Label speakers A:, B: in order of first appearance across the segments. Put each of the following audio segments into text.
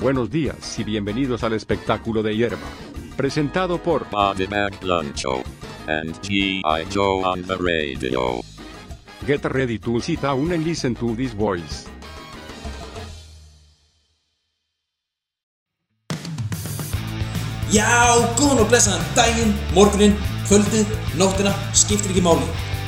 A: Buenos días y bienvenidos al espectáculo de hierba. Presentado por
B: Body Bag Luncho and G.I. Joe on the radio.
A: Get Ready to Sit Down and Listen to This Voice.
C: Já, góðan og blessaðan daginn, morgunin, kvöldið, nóttina, skiptir ekki máli.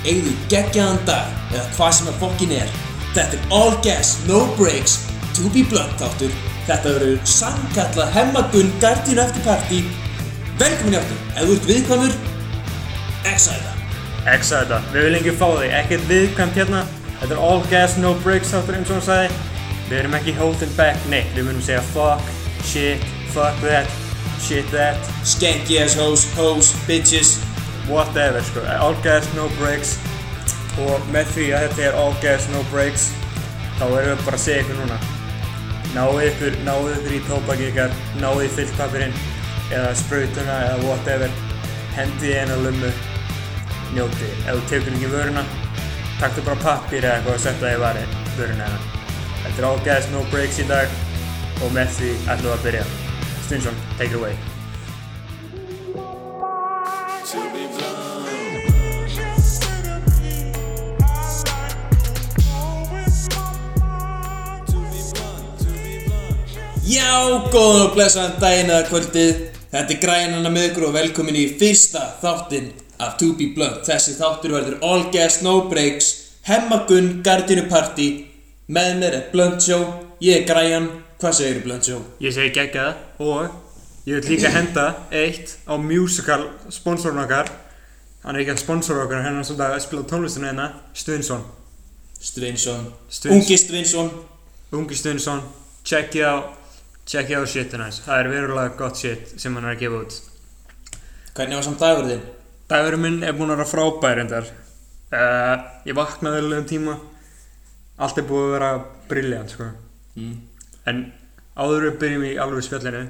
C: Eigðu geggjaðan dag, eða hvað sem að fokkin er. Þetta er all gas, no breaks, to be blunt áttur. Þetta verður sannkallað hemmagun gardínu eftir partí. Velkomin hjáttur, ef þú ert viðkvæmur, exæða.
D: Exa þetta, við viljum ekki fá þig, ekkert viðkvæmt hérna Þetta er all gas, no breaks áttur eins og hann sagði Við erum ekki holding back, neitt, við munum segja fuck, shit, fuck that, shit that,
C: Skanky ass hoes, hoes, bitches.
D: whatever sko All gas, no breaks Og með því að þetta er all gas, no breaks Þá erum við bara að segja ykkur núna Náðu ykkur, náðu ykkur í tóbaki ykkar, náðu í fyllpapirinn Eða sprautuna eða whatever Hendið henni að lummu njóti. Ef þú tekur ekki vöruna, taktu bara pappir eða eitthvað að setja í vari vöruna hérna. Þetta er all gas, no breaks í dag og með því ætlum við að byrja. Stinsson, take it away.
C: Já, góðan og blessaðan daginn eða kvöldið. Þetta er grænana með ykkur og velkomin í fyrsta þáttinn af To Be Blunt. Þessi þáttur verður All Gas No Breaks, Hemmagun Gardinu Party. Með mér er Blunt Show, ég er græjan. Hvað segir Blunt Show?
D: Ég segi gegga það og ég vil líka henda eitt á musical sponsorun okkar. Hann er ekki að sponsora okkar, hann er svona að spila tónlistinu hérna, Stinsson.
C: Stvinsson.
D: Stvinsson.
C: Ungi Stvinsson.
D: Ungi Stunnsson, checkið á checkið á shitin hans, það er verulega gott shit sem hann er að gefa út
C: Hvernig var samt dagur þinn?
D: Dagurinn minn er búinn að vera frábær endar uh, Ég vaknaði öllum tíma Allt er búið að vera brilljant sko.
C: Mm.
D: En áður við byrjum í alveg spjallinu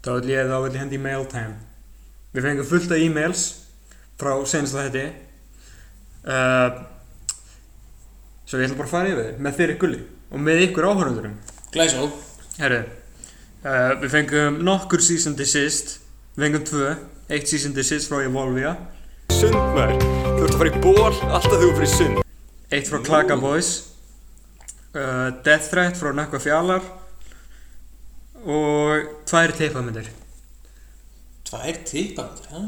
D: Þá vil ég þá vil ég hendi í mail time Við fengum fullt af e-mails Frá senast að þetta uh, Svo ég ætla bara að fara yfir þau, Með þeirri gulli Og með ykkur áhörundurum
C: Glæsó.
D: Herru, uh, við fengum nokkur season desist, við fengum tvö, eitt season desist frá Evolvia,
E: sund maður Þú ert að fara í ból alltaf þegar þú fyrir sund
D: eitt frá Klaka Boys, uh, Death Threat frá Nakva Fjallar og tvær teipamindir.
C: Tvær tippandur, hæ?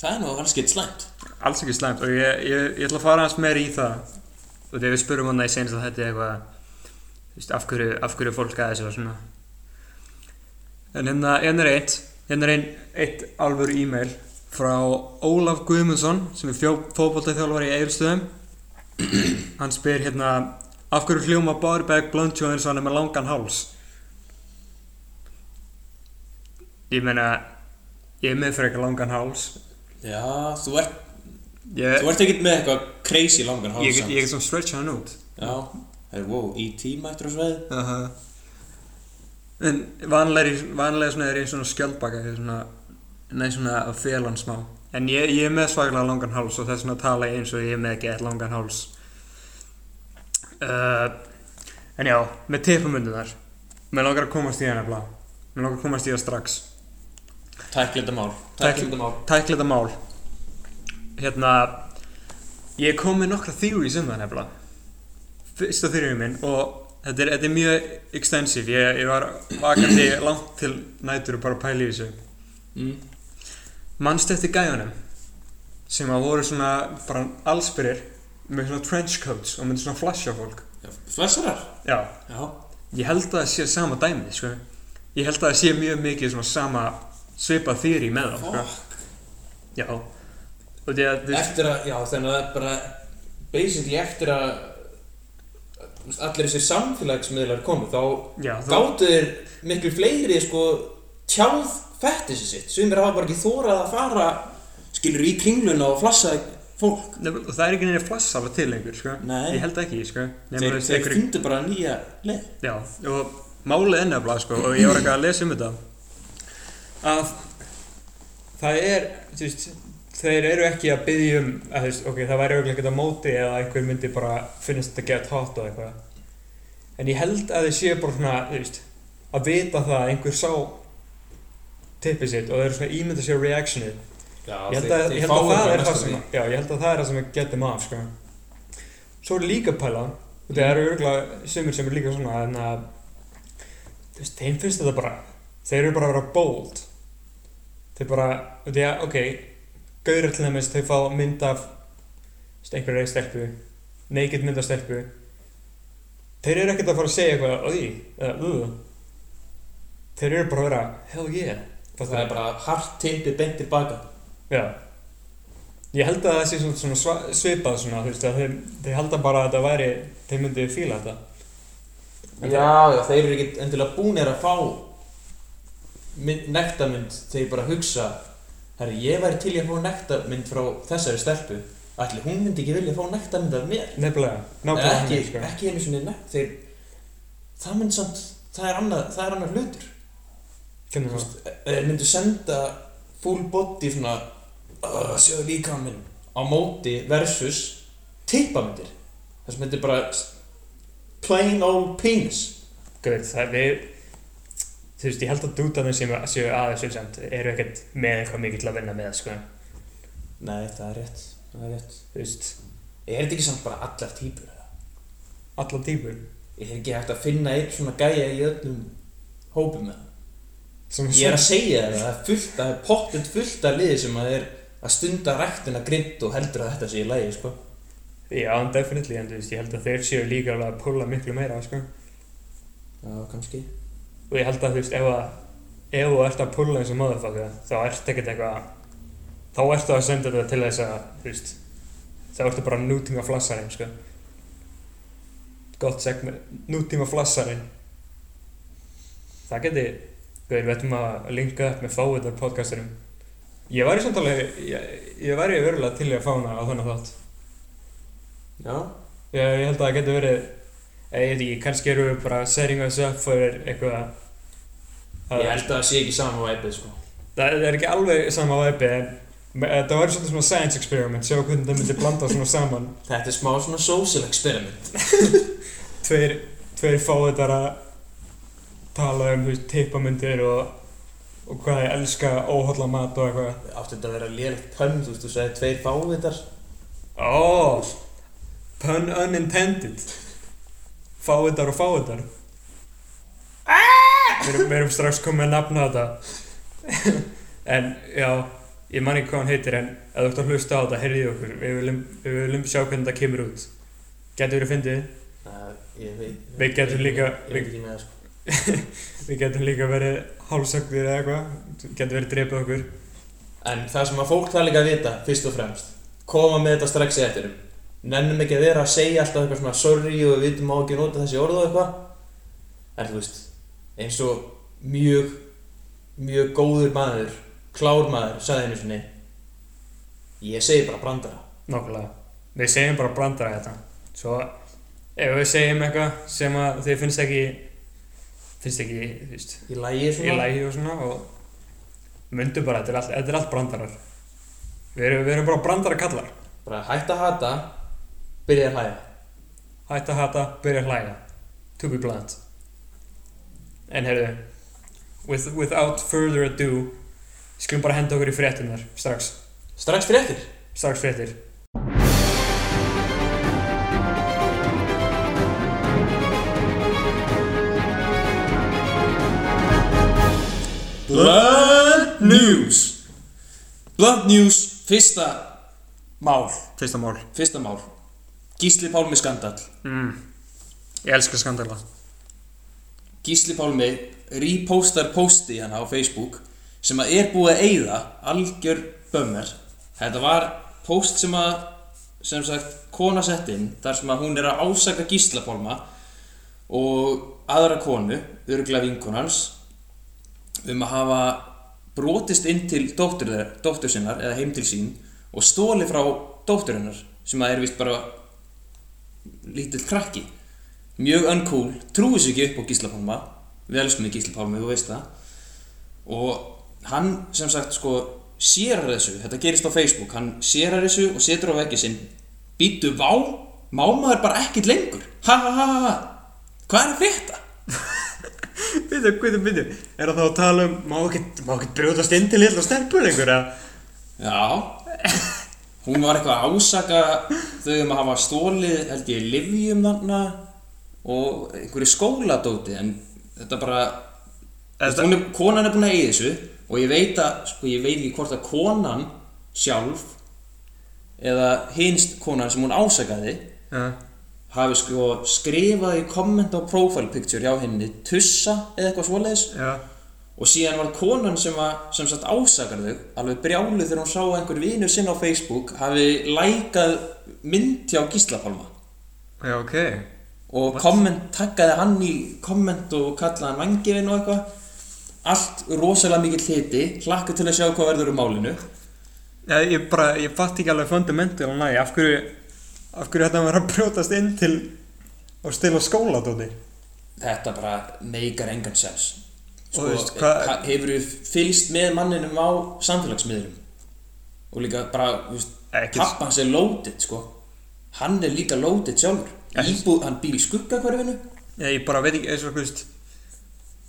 C: Það er nú alls gett slæmt.
D: Alls ekki slæmt og ég, ég, ég ætla að fara aðeins meira í það og þegar við spurum hann að ég senast að þetta er eitthvað, þú veist, af hverju, af hverju fólk að þessu og svona. En hérna, hérna er eitt, hérna er einn, eitt alvöru e-mail frá Ólaf Guðmundsson sem er fókbóltaþjálfar í Egilstöðum. hann spyr hérna, af hverju hljóma Bárberg Blöndjó eins og hann er með langan háls? Ég meina, ég er með fyrir eitthvað langan háls.
C: Já, þú ert,
D: Ég,
C: þú ert ekkert með eitthvað crazy langan
D: ég,
C: hálfsamt.
D: ég er svona stretch hann út.
C: Já, það er wow, E.T. mættur á sveið.
D: Aha. En vanlega, vanlega svona er ég svona skjöldbaka ég er svona, nei svona að fela hann smá En ég, ég er með svaklega langan háls og þess vegna tala ég eins og ég er með ekki eitt langan háls uh, En já, með tippamundunar Mér langar að komast í hana blá Mér langar að komast í það strax
C: Tækla þetta mál. Tækla þetta mál.
D: Tækla þetta mál Hérna Ég kom með nokkra theories um það nefnilega Fyrsta theory minn og þetta er, þetta er mjög extensive Ég, ég var vakandi langt til nætur og bara að pæla í þessu
C: Mm.
D: Manst eftir gæjunum sem að voru svona bara allsbyrjir með svona trench coats og myndi svona flasha á fólk
C: Já, Flessarar?
D: Já,
C: Já.
D: Ég held að það sé sama dæmi, sko. Ég held að það sé mjög mikið svona sama svipað þýri með það,
C: Fuck.
D: sko. Já. Og því að, þú veist,
C: Eftir að, já, þannig að það er bara basically eftir að þú veist, allir þessir samfélagsmiðlar komu þá
D: Já, þá-
C: gáttu þér miklu fleiri sko tjáð fettissi sitt sem er hafa bara ekki þórað að fara skilur í kringluna og flassa fólk
D: nefnilega- og það er ekki neina flassa alveg til lengur, sko.
C: Nei.
D: Ég held ekki, sko. Nema,
C: þeir,
D: þú veist,
C: þeir
D: einhverju-
C: fundu bara nýja leið
D: Já, og málið er nefnilega sko, og ég var eitthvað að lesa um þetta að það er, þú veist þeir eru ekki að byggja um að þú veist, ok, það væri auðvitað að móti eða einhver myndi bara finnast þetta að geta hot og eitthvað en ég held að þeir séu bara svona, þú veist að vita það að einhver sá tippið sitt og þeir eru svona að ímynda sér reactionið
C: Já,
D: ég held
C: þeir-
D: að,
C: þeir
D: ég held að
C: fáu
D: það
C: bara
D: er það
C: næstum
D: sem
C: því.
D: já, ég held að það er það sem er getið maður sko. svo er líka að pæla og það
C: Mm.
D: eru örgulega sumir sem eru líka svona en að þú veist, þeim finnst þetta bara þeir eru bara að vera bold þeir bara, þú veist, ok gauður til dæmis, þau fá mynd af þú veist, einhverju stelpu naked mynd af stelpu þeir eru ekkert að fara að segja eitthvað "Oj," eða uh. þeir eru bara að vera hell yeah
C: Það er bara hart tippið beint tilbaka
D: Já Ég held að það sé svona, svona sva- svipað svona, þú veist, að þeir, þeir halda bara að þetta væri, þeir myndi fíla þetta.
C: Já, já, þeir eru ekki endilega búnir að fá mynd, nektarmynd þeir bara hugsa Herri, ég væri til í að fá nektarmynd frá þessari stelpu Ætli, hún myndi ekki vilja fá nektarmynd af mér
D: Nefnilega,
C: Eða
D: nákvæmlega
C: ekki,
D: þannig, sko.
C: ekki einu sinni nekt þeir, það myndi samt, það er annað, það er annar hlutur
D: Hvernig
C: Þú
D: það?
C: veist, ef þeir myndu senda full body svona uh, sjáðu líka minn á móti versus tippamyndir þess myndir bara s- plain old penis
D: Gauð, það er við, þú veist, ég held að dútanum sem séu aðeins uppsend eru ekkert með eitthvað mikið til að vinna með, sko.
C: nei það er rétt það er rétt
D: Þú veist,
C: er þetta ekki samt bara allar típur eða?
D: alla típur.
C: ég er ekki hægt að finna einn svona gæja í öllum hópum með
D: Sem
C: ég er að segja þér það það er fullt það er pottent fullt af liði sem að er að stunda ræktina grind og heldur að þetta sé í lagi sko
D: Já, en definitely, en þú veist, ég held að þeir séu líka alveg að pulla miklu meira, sko.
C: já kannski
D: Og ég held að, þú veist, ef að, ef þú ert að pulla eins og motherfucker, þá ert ekkert eitthvað, þá ertu að senda þetta til þess að, þú veist, þá ertu bara nútíma flassarinn, sko. Gott segment, nútíma flassarinn. Það geti, gauðir, við ættum að linka upp með fáiðar podcasturum. Ég væri samt alveg, ég, ég væri verulega til í að fá hana á þennan þátt.
C: já
D: Já, ég held að það getur verið eh, Ég veit ekki, kannski eru við bara setting us up fyrir eitthvað
C: ég held að það sé ekki saman væpið sko
D: Það það er ekki alveg sama væpi en me- þetta var svolítið svona science experiment sjá hvernig það myndi blanda svona saman
C: Þetta er smá svona social experiment
D: tveir, tveir fáiðar að tala um þú veist, tippamundir og, og hvað ég elska óholla mat og eitthvað
C: Átti þetta að vera lélegt pönn, þú veist, þú sagði tveir fávitar
D: Ó, oh, pun unintended Fáiðar og fáiðar Við erum, við erum strax komið að nafna á þetta En já, ég man ekki hvað hann heitir En ef þú ert að hlusta á þetta, heyrðið okkur Við viljum, við viljum sjá hvernig þetta kemur út Getur verið fyndið
C: Ég veit
D: Við getum líka-
C: Ég veit ekki með það sko
D: Við getum líka verið hálsögðir eða eitthvað Getur verið drepið okkur
C: En það sem að fólk það líka að vita, fyrst og fremst Koma með þetta strax í eftirum Nennum ekki að vera að segja alltaf eitthvað svona sorry og við vitum á ekki að nota þessi orð og eitthvað En þú veist, eins og mjög, mjög góður maður, klár maður, sagði einu sinni Ég segi bara brandara
D: Nákvæmlega. Við segjum bara brandara þetta. Svo ef við segjum eitthvað sem að þið finnst ekki, finnst ekki, þú veist,
C: Í lagi
D: í
C: svona
D: lægi og svona og myndu bara, þetta er allt, þetta er allt brandarar. Við erum, við erum bara brandara kallar.
C: Bara hætt að hata, byrja að hlæja
D: Hætt að hata, byrja að hlæja. To be blunt. En heyrðu, with, without further ado, skulum bara henda okkur í fréttunar strax.
C: Strax fréttir
D: Strax fréttir.
F: Blunt News Blunt News, fyrsta mál
D: Fyrsta mál.
F: Fyrsta mál Gísli Pálmi skandal
D: Mm. Ég elska skandala.
F: Gísli Pálmi repostar posti hann á Facebook sem að er búið að eyða algjör bömmar þetta var post sem að sem sagt kona sett inn þar sem að hún er að ásaka Gísla Pálma og aðra konu örgla vinkonans um að hafa brotist inn til dóttur, þeirra- dóttur sinnar eða heim til sín og stóli frá dóttur hennar sem að er vist bara lítill krakki mjög uncool, trúið sér ekki upp á Gísla Pálma við elskum þið Gísla Pálma, þú veist það og hann sem sagt sko sérar þessu, þetta gerist á Facebook hann sérar þessu og setur á veggi sinn býtu vá, má maður bara ekkit lengur ha ha ha ha ha hvað er að frétta?
D: Við byrju, byrju, byrju Er það þá að tala um, má ekkert, má ekkert brjótast inn til hérna og stelpur lengur að
C: Já Hún var eitthvað að ásaka þau um að hafa stólið, held ég, livjum þarna og einhverju skóladóti en þetta bara
D: Þetta-
C: þetta... Er, konan er búin að eigi þessu og ég veit að, sko, ég veit ekki hvort að konan sjálf eða hinst konan sem hún ásakaði
D: Já,
C: hafi sko skrifað í komment á profile picture hjá henni tussa eða eitthvað svoleiðis
D: já,
C: og síðan var konan sem, að, sem sagt ásakar þau alveg brjáluð þegar hún sá að einhver vinur sinn á Facebook hafi lækað mynd hjá Gíslapalma
D: já, ok
C: og komment, takkaði hann í komment og kallaði hann vangifinn og eitthvað allt rosalega mikill hiti hlakka til að sjá hvað verður um málinu
D: Já, ég bara, ég fatt ekki alveg fundamental og næ, af hverju, af hverju þetta var að brjótast inn til og stila skóla, Dóti
C: þetta bara meikar engan sens
D: Og
C: sko,
D: þú veist, hvað-
C: ha- hefurðu fylgst með manninum á samfélagsmiðlum og líka bara, þú veist,
D: Ekkert.
C: pappa hans er loaded sko, hann er líka loaded sjálfur, Íbú, hann býr í skuggakvarfinu
D: Já, ég bara veit ekki, eins og, þú veist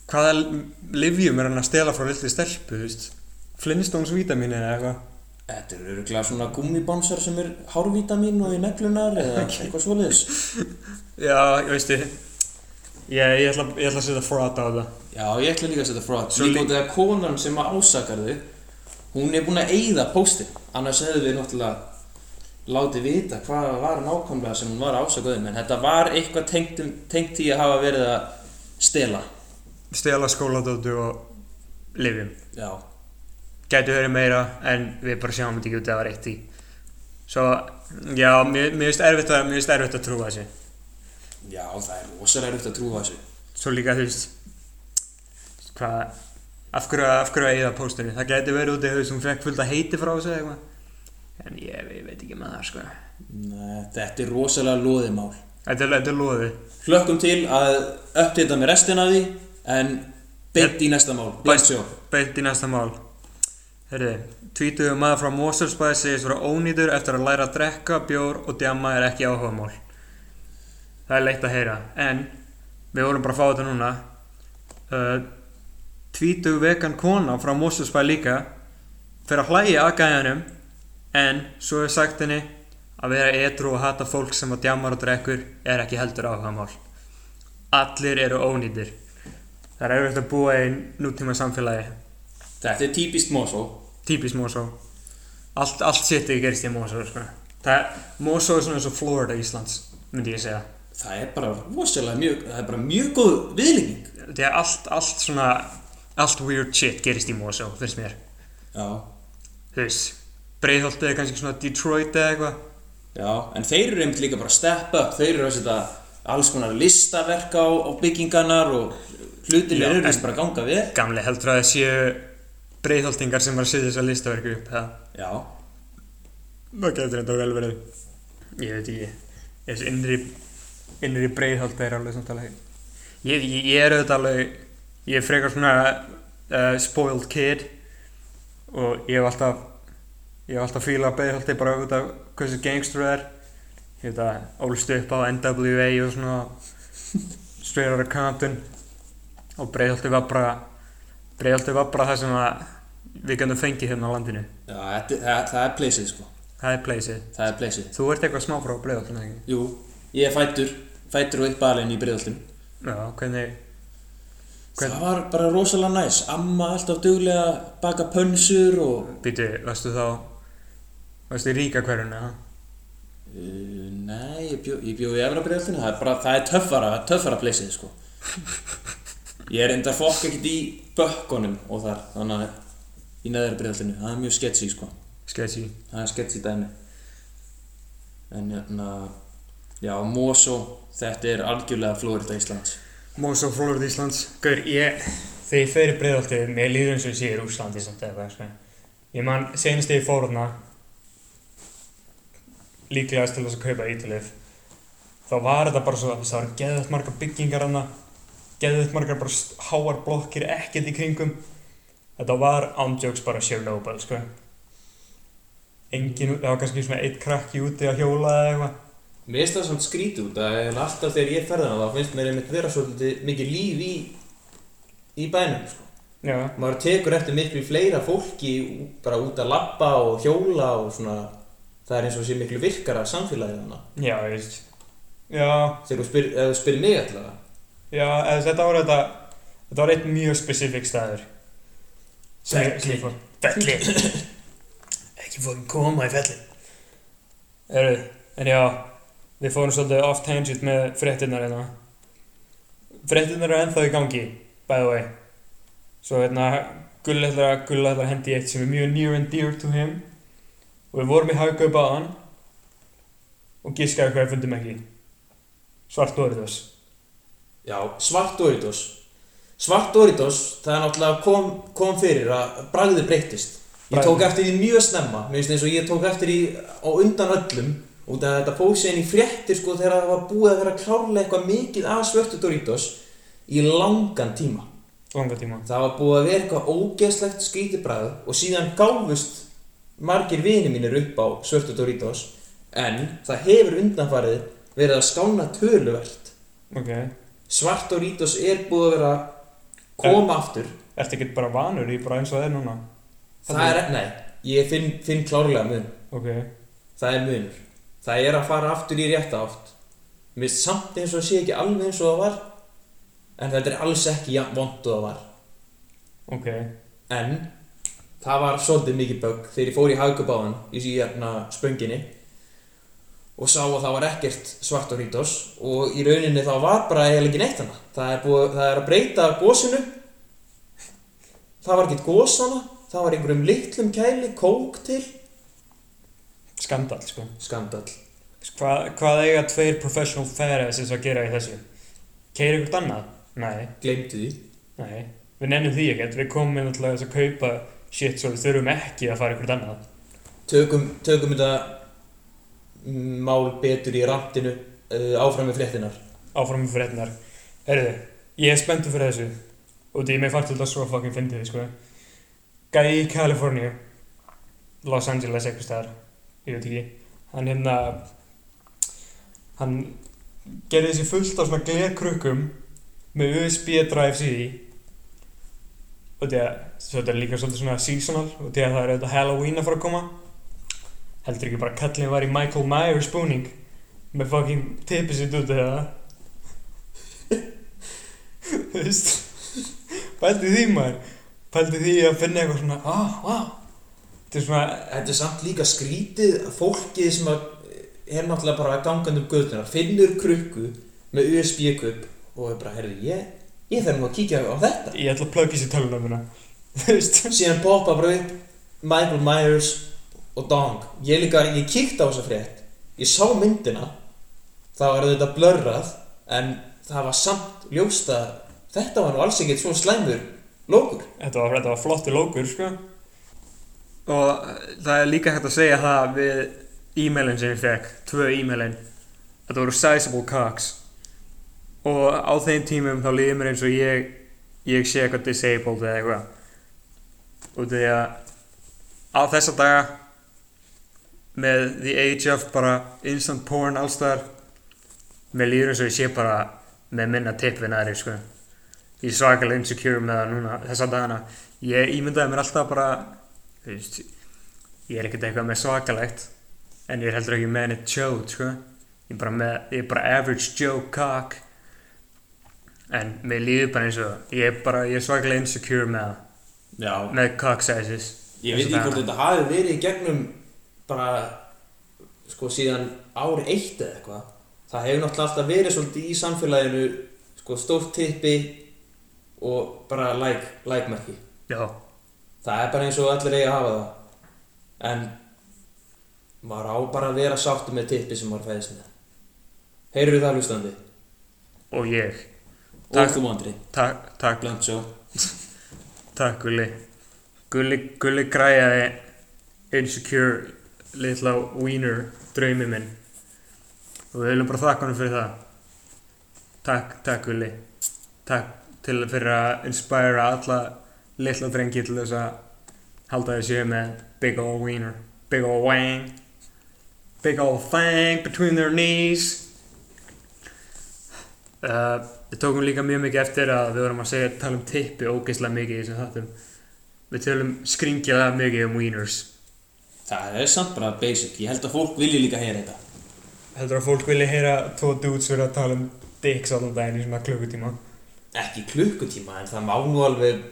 D: Hvaða livjum er hann að stela frá lilli stelpu, þú veist Flintstones vítamín eða eitthvað
C: þetta eru örgulega svona gummibonsar sem er hárvítamin og í neglunar eða eitthvað svoleiðis
D: Já, ég veistu Já, ég ætla, ég ætla að setja fraud á það
C: já, ég ætla líka að setja frá þetta
D: Svo
C: líka
D: lí-
C: út af því að konan sem að ásakar þau hún er búin að eyða póstin annars hefðu við náttúrulega látið vita hvað það var nákvæmlega sem hún var ásakaðum en þetta var eitthvað tengt, um, tengt í að hafa verið að stela
D: Stela skóladóttu og livjum
C: já,
D: Gætu verið meira en við bara sjáum þetta ekki út að það var eitt í Svo, já, mér mér finnst erfitt að, mér finnst erfitt að trúa þessu
C: já það er rosalega rútt að trúa þessu
D: Svo líka, þú veist Hvað, af hverju, af hverju að eyða póstunni Það gæti verið út í haus, hún fekk fullt að heiti frá þessu eða eitthvað En ég, ég veit ekki með það, sko
C: Nei, þetta er rosalega loðið mál
D: Þetta er, þetta er loðið
C: hlökkum til að uppdita með restina af því en beint í næsta mál Björn Sjó
D: Beint í næsta mál Herri, tvítuðu maður frá Moselsbæði segist vera ónýtur eftir að læra að drekka, bjór og djama er ekki áhugamál Það er leitt að heyra En, við vorum bara að fá þetta núna uh, Tvítuðu vegan kona frá Moselsbæði líka Fyrir að hlæja að gæjanum En, svo er sagt henni Að vera edru og hata fólk sem að djamar og drekkur Er ekki heldur áhugamál Allir eru ónýtir Það er erfitt að búa í nútíma samfélagi
C: þetta er típist Mosó
D: Típist Mosó Allt, allt sitt ekki gerist í Mosó sko. Það er, Mosó er svona eins og Florida Íslands myndi ég segja
C: það er bara rosalega mjög það er bara mjög góð viðlíking
D: Þegar allt, allt svona allt weird shit gerist í Mosó finnst mér
C: já,
D: Þú veist, Breiðholtið er kannski svona Detroit eða eitthvað
C: já, en þeir eru einmitt líka bara að steppa upp þeir eru að setja alls konar listaverk á, á byggingarnar og hlutir
D: Já,
C: eru
D: en-
C: vist bara að ganga vel
D: Gamli heldur að það séu Breiðholtingar sem var að setja þessa listaverku upp það,
C: já,
D: það getur þetta vel verið Ég veit ekki Þessi innri, innri Breiðholt er alveg samt alveg ég, ég, ég er auðvitað alveg ég er frekar svona uh, spoiled kid og ég hef alltaf ég hef alltaf fílað beðhaldi bara út af hversu gangster það er ég veit að ólst upp á NWA og svona straight out of Compton og breiðhaldi var bara breiðhaldi var bara það sem að við gætum fengið hérna á landinu
C: já þetta, það, það er pleysið sko
D: það er pleysið
C: það er pleysið
D: þú ert eitthvað smá frá breiðhaldinu ekki
C: jú, ég er fættur fættur og upp alveg í breiðaltum
D: já, hvernig Hvern-
C: það var bara rosalega næs amma alltaf duglega að baka pönsur og
D: býtu, varstu þá varstu í ríka hverjuna
C: Uh, nei, ég bjó, ég bjó í Efrabriðaltinu, það er bara, það er töffara, töffara pleysið, sko. Ég er enda fokk ekkert í bökkunum og þar, þannig að í neðarbriðaltinu, það er mjög sketchy, sko.
D: sketchy
C: Það er sketchy dæmi. En hérna, já, Mosó, þetta er algjörlega Florida Íslands.
D: Mosó Flórið Íslands Gaur, ég, þegar ég fer í breiðaltið mér líður eins og ég sé í Rúslandi samt eða eitthvað sko. ég man, senast þegar ég fór hana líklegast til þess að kaupa ítalif þá var þetta bara svo það var geðvægt margar byggingar hana geðvægt margar bara st- háar blokkir ekkert í kringum þetta var ándjóks bara Chernobyl sko. engin, það var kannski svona eitt krakki úti að hjóla eða eitthvað
G: Mér finnst það samt skrítið út að alltaf þegar ég ferðan þá finnst mér einmitt vera svolítið mikið líf í
C: í bænum sko.
H: Já,
C: maður tekur eftir miklu fleira fólki ú- bara út að lappa og hjóla og svona það er eins og sé miklu virkara samfélagið hana
D: Já, ég veist Já,
C: þegar þú spyr, ef þú spyr mig allavega
D: já, eða þetta var þetta Þetta var einn mjög spesifik staður Sem ég- sem ég fór- Fellin Ekki fókin koma í fellin Eru, en já Við fórum svolítið off tangent með fréttinnar hérna Fréttinnar eru ennþá í gangi By the way Svo hérna Gull ætlar að Gull ætlar að hendi í eitt sem er mjög near and dear to him Og við vorum í haugaup á hann Og gískaði hvað við fundum ekki Svart Doritos
C: Já, svart Doritos Svart Doritos, það er náttúrulega kom, kom fyrir að bragðið breyttist Ég
D: Bragðið.
C: tók eftir því mjög snemma Mér finnst eins og ég tók eftir því á undan öllum Út af að þetta fók sér inn í fréttir sko þegar það var búið að vera klárlega eitthvað mikið af svörtu Doritos í langan tíma
D: langa tíma
C: Það var búið að vera eitthvað ógeðslegt skítibræð og síðan gáfust margir vini mínir upp á svörtu Doritos en það hefur undanfarið verið að skána töluvert
D: ok,
C: Svart Doritos er búið að vera að koma aftur
D: ertu ekkert bara vanur í bara eins og það er núna
C: það er, nei, ég finn, finn klárlega mun
D: ok,
C: það er munur það er að fara aftur í rétta átt mér finnst samt eins og það sé ekki alveg eins og það var en þetta er alls ekki jafn vond og það var
D: ok
C: en það var svolítið mikið bögg þegar ég fór í hagkabáðan í síðan spönginni og sá að það var ekkert svart og rítos og í rauninni þá var bara eiginlega ekki neitt hana það er, búið, það er að breyta gósinu það var ekkert gós hana það var einhverjum litlum kæli, kók til
D: skandal sko
C: skandall
D: Hva, hvað eiga tveir professional fairasins að gera í þessu keira ykkur annað? nei,
C: gleymdu því
D: nei, við nennum því ekkert við komum inn alltaf þess að kaupa shit svo við þurfum ekki að fara ykkur annað
C: tökum, tökum þetta mál betur í randinu uh, áfram með fréttinar
D: áfram með fréttinar Herðu, ég er spenntur fyrir þessu og því mér fannst þetta svo fucking fyndið sko. Gæi í Kaliforníu Los Angeles eitthvað staðar ég veit ekki hann hérna hann gerði þessi fullt á svona glerkrukkum með USB drives í því og því að svo þetta er líka svolítið svona seasonal og því að það er auðvitað Halloween að fara að koma heldur ekki bara kallin var í Michael Myers búning með fucking tipið sitt út eða þú veist pældi því maður pældi því að finna eitthvað svona ah, wow þetta er svona
C: þetta er samt líka skrítið að fólkið sem að eh, er náttúrulega bara gangandi um göðunar finnur krukku með USB-kupp og er bara, herri, ég, ég þarf nú að kíkja á þetta
D: ég ætla að plugga sér töluna minna þú veist
C: síðan poppa bara upp Michael Myers og Dong ég líka, ég kíkti á þessa frétt ég sá myndina það var þetta blörrað en það var samt ljóst að þetta var nú alls ekkert svona slæmur lókur
D: þetta var, þetta var flottur lókur sko
H: og það er líka hægt að segja það við e-mailin sem ég fekk, tvö e-mailin þetta voru sizable cocks og á þeim tímum þá líður mér eins og ég ég sé eitthvað disabled eða eitthvað og því að á þessa daga með the age of bara instant porn allstar mér líður eins og ég sé bara með minna tippin aðri sko ég er svakalega insecure með það núna þessa dagana ég ímyndaði mér alltaf bara þú veist, ég er ekkert eitthvað með svakalegt en ég er heldur ekki með neitt joke sko. ég er bara með, ég er bara average joke cock en mér líður bara eins og ég er bara, ég er svakalega insecure með það
C: já,
H: með cock sizes
C: Ég veit ekki hvort þetta hafi verið í gegnum bara sko síðan ár eitt eða eitthvað það hefur náttúrulega alltaf verið svolítið í samfélaginu sko stórt tippi og bara like, like merki
H: já,
C: það er bara eins og allir eiga að hafa það en maður á bara að vera sáttu með tippi sem maður fæðist með Heyrðu það hlustandi
H: og ég
C: og þú andri,
H: takk, takk,
C: blunt show
H: takk Gulli Gulli, Gulli græjaði insecure litla wiener draumi minn og við viljum bara þakka hann fyrir það takk, takk Gulli takk til fyrir að inspira alla litla drengi til þess að halda þessu með big ol' wiener big ol' wang big ol' thang between their knees
D: Uh, við tókum líka mjög mikið eftir að við vorum að segja tala um tippi ógeðslega mikið í þessum þáttum. Við tölum skringjaða mikið um wieners.
I: Það er samt bara basic, ég held að fólk vilji líka heyra þetta
J: Heldur að fólk vilja heyra tvo dudes vera að tala um dicks allan daginn í svona klukkutíma?
C: Ekki klukkutíma, en það má nú alveg,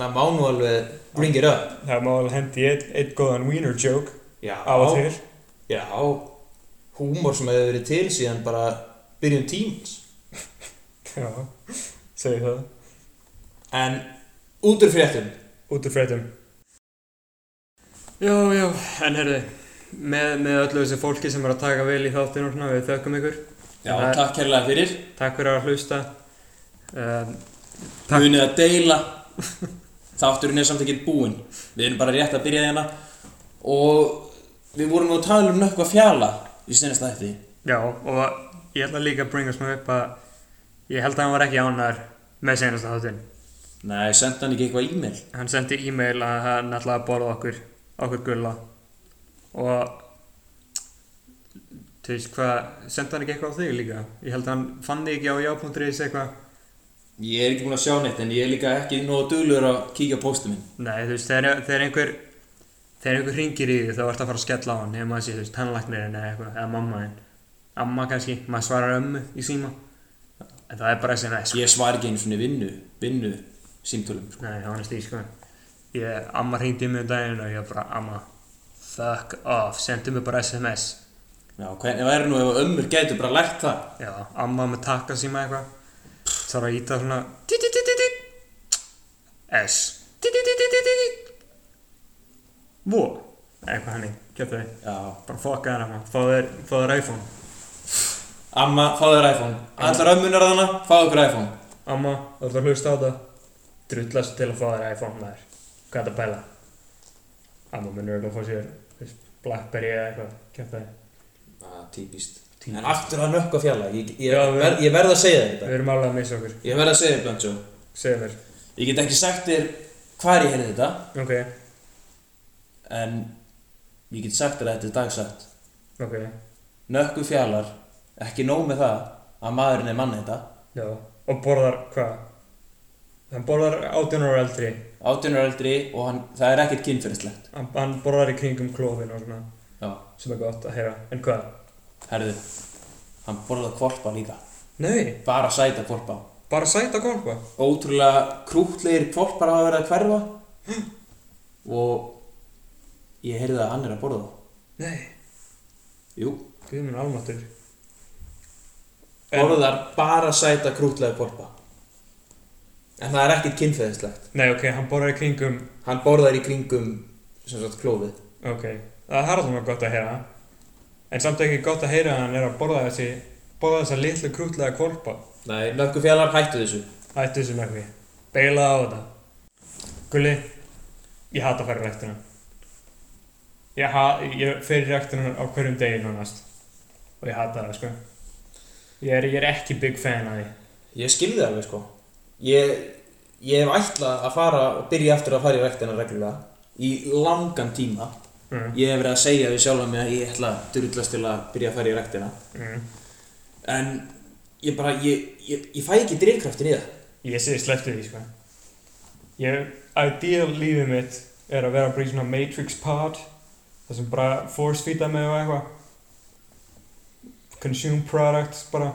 C: það má nú alveg bring it up.
J: Það má alveg hendi eitt, eitt góðan wiener joke
C: Já.
J: á og til.
C: Já, húmor sem hefur verið til síðan bara byrjun tímans.
J: Já, segi það.
C: En út úr fréttum,
J: Út úr fréttum.
D: Já, já, en herðu, með, með öllu þessu fólki sem er að taka vel í þáttinu og svona, við þökkum ykkur.
I: Já,
D: Það-
I: takk kærlega fyrir
D: Takk fyrir að hlusta. Um, Takk.
I: Munið að deila Þátturinn er samt ekki búinn Við erum bara rétt að byrja hérna Og við vorum nú að tala um nökkva fjala Í sinnes þætti
D: já, og ég ætla líka að bringa smá upp að ég held að hann var ekki ánæður með senast þáttin.
I: Nei, sendi hann ekki eitthvað e-mail
D: Hann sendi e-mail að hann ætlaði að borða okkur, okkur gulla og þú veist hvað, sendi hann ekki eitthvað á þig líka? Ég held að hann fann þig ekki á já.is eitthvað.
I: Ég er ekki búinn að sjá neitt En ég er líka ekki nóg duglur að kíkja á póstum minn
D: Nei, þú veist, þegar, þegar einhver þegar einhver ringir í því þá ertu að fara að skella á hann ef maður sé, þú veist, tannlæknirinn eða eitthvað eða mamma þinn. Amma kannski, maður svarar ömmu í síma en það er bara SMS. sko.
I: Ég svar ekki einu svona vinnu Vinnu símtölum sko.
D: Nei, það var næst í, sko. Ég, amma ringdi í mig um daginn og ég bara, amma, fuck off, sendi mig bara SMS.
I: Já, hvernig væri nú ef ömmur gætu bara lært það
D: Já, amma með takka síma eitthvað Það er að íta svona S Vó Eitthvað henni, kjöptu þau
I: Já,
D: Bara fokka þér amma, fá þér, fá þér iPhone
C: amma, fáðu þér iPhone. Allar ömmunar þarna, fáðu okkur iPhone.
D: Amma, þú ert að hlusta á það Drullast til að fá þér iPhone maður Hvað er það að bæla? Amma munur örugglega að fá sér þú veist, Blackberry eða eitthvað, kjöptu þau
C: Ah, típist.
D: Típist.
C: En aftur að nökkva fjalla, ég, ég,
D: Já, við-
C: ver, ég verð að segja þér þetta.
D: Við erum alveg að missa okkur,
C: Ég verð að segja þér, Blancho.
D: segðu mér
C: Ég get ekki sagt þér hvar ég heyrði þetta,
D: Ok,
C: en ég get sagt þér að þetta er dagsatt.
D: ok,
C: Nökkvi fjallar, ekki nóg með það að maðurinn er manni þetta.
D: já Og borðar hvað? Hann borðar 18 ára eldri
C: 18 ára eldri og hann, það er ekkert kynferðislegt.
D: hann, hann borðar í kringum klófin og svona
C: Já,
D: sem er gott að heyra, en hvað?
C: herðu, hann borðað kvolpa líka.
D: Nei,
C: Bara sæta kvolpa.
D: bara sæta golfa
C: Ótrúlega krútlegir kvolpar hafa verið að hverfa og ég heyrði að hann er að borða það.
D: Nei,
C: Jú,
D: guð minn almatur En-
C: borðar bara sæta krútlegir kvolpa. En það er ekkert kynferðislegt.
D: Nei, ok, hann borðar í kringum
C: Hann borðar í kringum, sem sagt, klófið.
D: Ok, það er alveg gott að heyra En samt ekki gott að heyra að hann er að borða þessi borða þessa litlu krútlega golfa
C: Nei, nökkufjallar hættu þessu.
D: Ættu þessu með því, beilaði á þetta Gulli, ég hata að fara í ræktina Ég, ha- ég fer í ræktina á hverjum degi nánast og ég hata það, sko Ég er, ég er ekki big fan af því
C: Ég skilði það alveg sko Ég, ég hef ætlað að fara og byrja aftur að fara í rektina reglulega í langan tíma
D: Mm.
C: Ég hef verið að segja við sjálf að mig að ég ætla að drullast til að byrja að fara í rektina
D: Mm.
C: En ég bara, ég, ég, ég fæ ekki drivkraftin í það
D: Ég sé sleppti því, sko. Ég, ideal lífið mitt er að vera bara í svona Matrix pod, þar sem bara force feeda mig og eitthvað. Consume products, bara.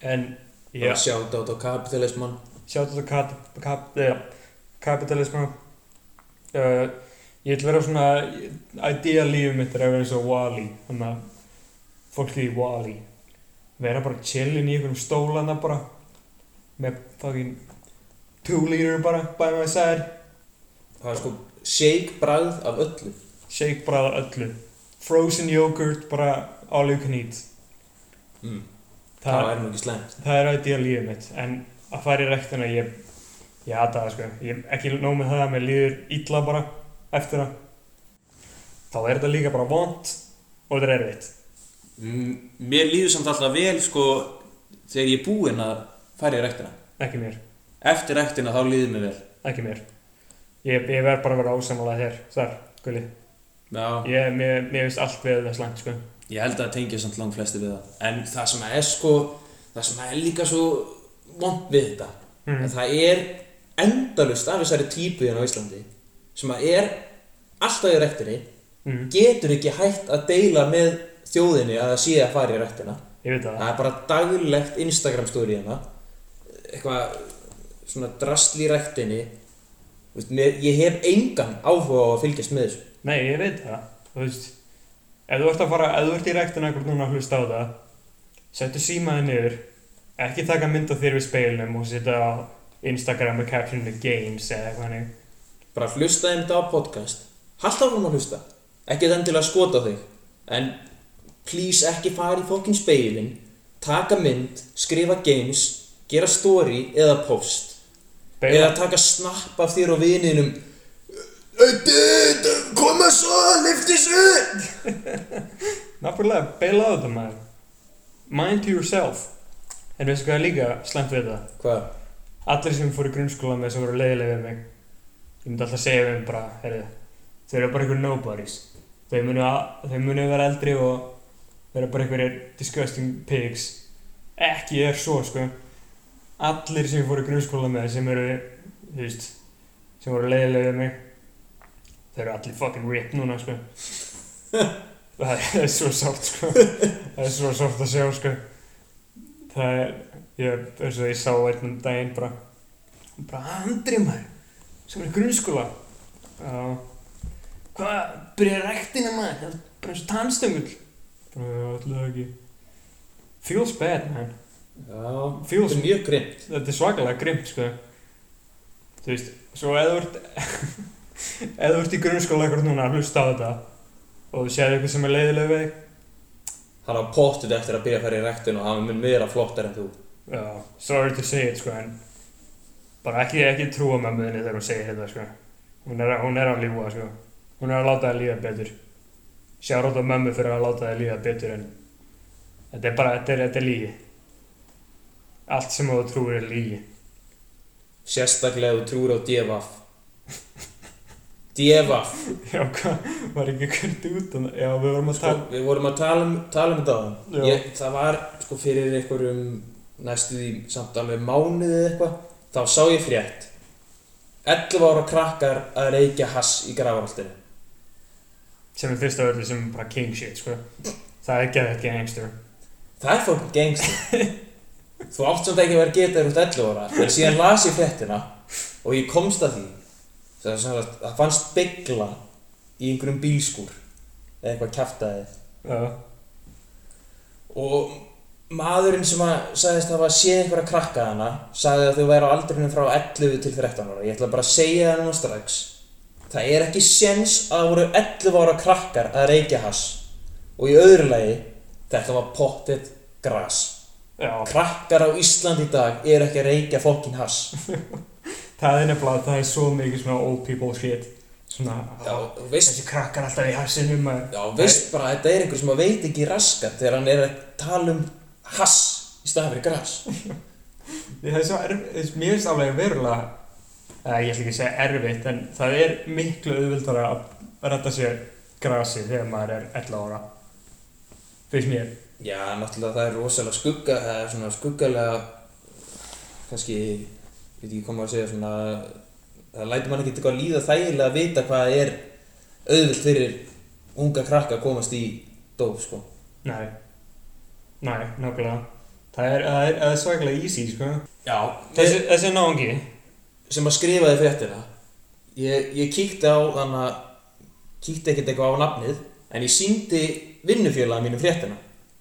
D: En,
C: Bara
D: ég,
C: sjáta át á kapitalismann
D: sjátt þetta kap, kap, eh, kapitalisma. Uh, ég ætla að vera svona, ideal lífið mitt er að vera eins og Wall-E, þannig að fólkið í Wall-E. Vera bara chillin í einhverjum stólana bara, með fucking two liter bara, by my side.
C: Það er sko shake bragð af öllu
D: shake bara öllu frozen yogurt bara all you can eat
C: Mm. Það
D: það,
C: er nú ekki slæmt
D: það er ideal lífið mitt en að fara í rektina ég ég hata það sko, ég ekki nóg með það að mér líður illa bara eftir það þá er þetta líka bara vond og þetta er erfitt
C: M- Mér líður samt alltaf vel sko þegar ég er búinn að fara í rektina
D: ekki mér,
C: Eftir rektina þá líður mér vel
D: ekki mér ég, ég verð bara að vera ósamlega þér þar, gulli
C: Já,
D: ég, mér, mér finnst allt við það slæmt sko
C: Ég held að það tengja samt langt flesti við það En það sem er sko það sem er líka svo vond við þetta
D: Mhm.
C: en það er endalust af þessari típu hérna á Íslandi sem að er alltaf í rektinni
D: Mhm.
C: getur ekki hægt að deila með þjóðinni að það sé að fara í rektina
D: Ég veit það.
C: það er bara daglegt Instagram story hérna eitthvað svona drastl í rektinni Þú veist, mér, ég hef engan áhuga á að fylgjast með þessu
D: Nei, ég veit það. Þú veist, ef þú ert að fara, ef þú ert í rektin akkur núna að hlusta á það, settu símaði niður, ekki taka mynd á þér við speilnum og setja á Instagram með captioninu games eða eitthvað hannig.
C: bara hlusta þeim þetta á podcast halda áfram að hlusta ekki þann til að skota á þig en please ekki fara í fokkin speilin taka mynd, skrifa games gera story eða post
D: Beila,
C: eða taka snapp af þér og vininum Dude, koma svo, liftis upp
D: náttúrulega, beila á þetta maður. Mind to yourself. En veistu hvað er líka slæmt við það?
C: Hvað?
D: Allir sem fóru í grunnskóla með sem voru leiðilega við mig, ég myndi alltaf segja við mig bara, heyrðu, þau eru bara einhver nobodies. Þau munu, að, þau munu vera eldri og vera bara einhverjir disgusting pigs. Ekki er svo, sko. Allir sem ég fóru í grunnskóla með sem eru, þú veist, sem voru leiðilega við mig, þau eru allir fucking ripped núna, sko. það er svo sárt, sko. Það er svo sárt að sjá, sko. Það er, ég, eins og ég sá einn um daginn bara, bara andri maður, sem er í grunnskóla. Já. Hvað, byrja rektina maður, það er bara eins og tannstöngul. Bara, já, alltaf ekki. Feels bad, man.
C: Já, þetta
D: Feels
C: er mjög grimm
D: Þetta er svakalega grimt, sko. Þú veist, svo eða þú ert, eða þú ert í grunnskóla eitthvað núna að hlusta á þetta og þú séð eitthvað sem er leiðilega við þig,
C: hann á pottið eftir að byrja að fara í rektin og hann mun vera flottar en þú
D: já, sorry to say it, sko, en bara ekki, ekki trúa með möðinni þegar hún segir þetta, sko. Hún er, að- hún er að lífa, sko. Hún er að láta það lífa betur. Sjá rátt á mömmu fyrir að láta það lífa betur, en þetta er bara, þetta er, þetta er lígi. Allt sem þú trúir er lígi.
C: sérstaklega ef þú trúir á devaf devaf
D: Já, hvað, var ekki hvernig út um það? Já, við vorum að
C: sko,
D: tala...
C: við vorum að tala um, tala um
D: Já.
C: þetta ég, það var sko fyrir einhverjum næstu því samt alveg mánuði eða eitthvað þá sá ég frétt 11 ára krakkar að reykja hass í gravaraldinu
D: sem er fyrst af öllu sem er bara king shit sko. það er geðið gangster
C: það er fólk gangster þú átt samt ekki að vera geta þér út 11 ára en síðan las ég fréttina og ég komst að því það, sem sagt, það fannst byggla í einhverjum bílskúr eða eitthvað kjaftaði
D: já,
C: og maðurinn sem að sagðist hafa séð einhverja krakka hana sagði að þau væri á aldrinum frá 11 til 13 ára ég ætla bara að segja það núna strax það er ekki séns að það voru 11 ára krakkar að reykja hass og í öðru lagi þetta var pottet gras
D: já.
C: krakkar á Ísland í dag er ekki að reykja fokkin hass
D: það er nefnilega það er svo mikið svona old people shit svona
C: Já,
D: "Ah,
C: þú veist-
D: þessi krakkar alltaf í hassinu maður."
C: Já, veist bara að þetta er einhver sem að veit ekki raskat þegar hann er að tala um hass í staðan fyrir gras
D: það er svo erfitt mér finnst alveg verulega eða ég ætla ekki að segja erfitt en það er miklu auðvildara að redda sér grasi þegar maður er 11 ára finnst mér
C: Já, náttúrulega það er rosalega skugga það er svona skuggalega kannski, veit ekki koma að segja svona það lætur mann ekki eitthvað líða þægilega að vita hvað er auðvilt fyrir unga krakka að komast í dóf, sko
D: nei, nei, nákvæmlega það er, það er, það er svaklega easy sko.
C: Já,
D: þessi, þessi náungi
C: sem að skrifaði fréttina ég, ég kíkti á þannig að kíkti ekkert eitthvað á nafnið en ég síndi vinnufélaga mínum fréttina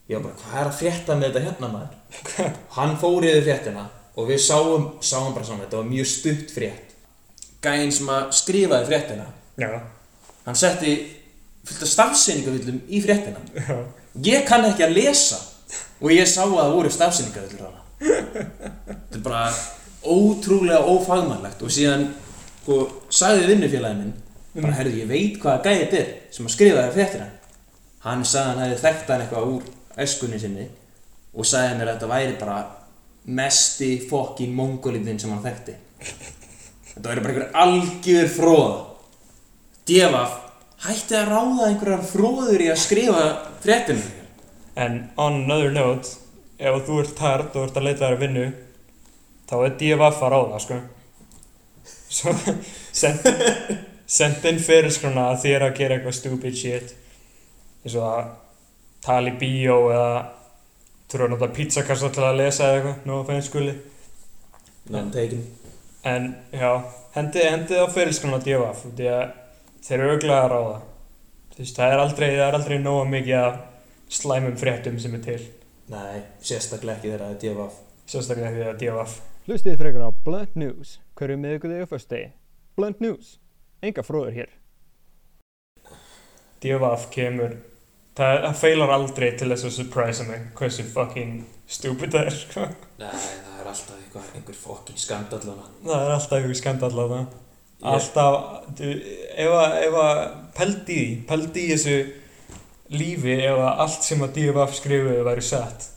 C: ég var bara, hvað er að frétta með þetta hérna maður hann fór yfir fréttina og við sáum, sáum bara saman, þetta var mjög stutt frétt gæinn sem að skrifaði fréttina
D: já
C: hann setti fullt af stafsynningavullum í fréttina
D: Já,
C: ég kann ekki að lesa og ég sá að það voru stafsynningaðullur hana þetta er bara ótrúlega ófagmannlegt og síðan sko, sagði vinnufélagin minn bara herðu ég veit hvaða gæði þetta er sem að skrifa það fréttina hann sagði hann hefði þekkt hann eitthvað úr eskunni sinni og sagði mér að þetta væri bara mesti fokkin mongolindin sem hann þekkti þetta væri bara einhver algjör fróða Devaf hætti að ráða einhverjar fróður í að skrifa fréttinu
D: en on another note ef að þú ert hard og ert að leita þér að vinnu þá er DFF að ráða sko svo send, send inn fyrirskrona að þér að gera eitthvað stupid shit eins og að tala í bíó eða þurfa að nota pizzakassa til að lesa eða eitthvað nú að fæða skuli
C: No, taken.
D: en já, hendi, hendið á fyrirskrona DFF því að þeir eru auðvitað að ráða þú veist, það er aldrei, það er aldrei nóga mikið af slæmum fréttum sem er til
C: Nei, sérstaklega ekki þegar það er divaf.
D: sérstaklega því að DFF
K: Hlustið frekar á Blunt News, hverju miðvikudegi og föstudegi. Blunt News, enga fróður hér.
D: DFF kemur það, það feilar aldrei til þess að surprise mig hversu fucking stupid það er sko.
C: Nei, það er alltaf eitthvað, einhver fokkin skandallana.
D: það er alltaf ykkur skandall á það
C: Ég-
D: alltaf du, ef að, ef að pældi í því, pældi í þessu lífi ef að allt sem að DFF skrifuði væri satt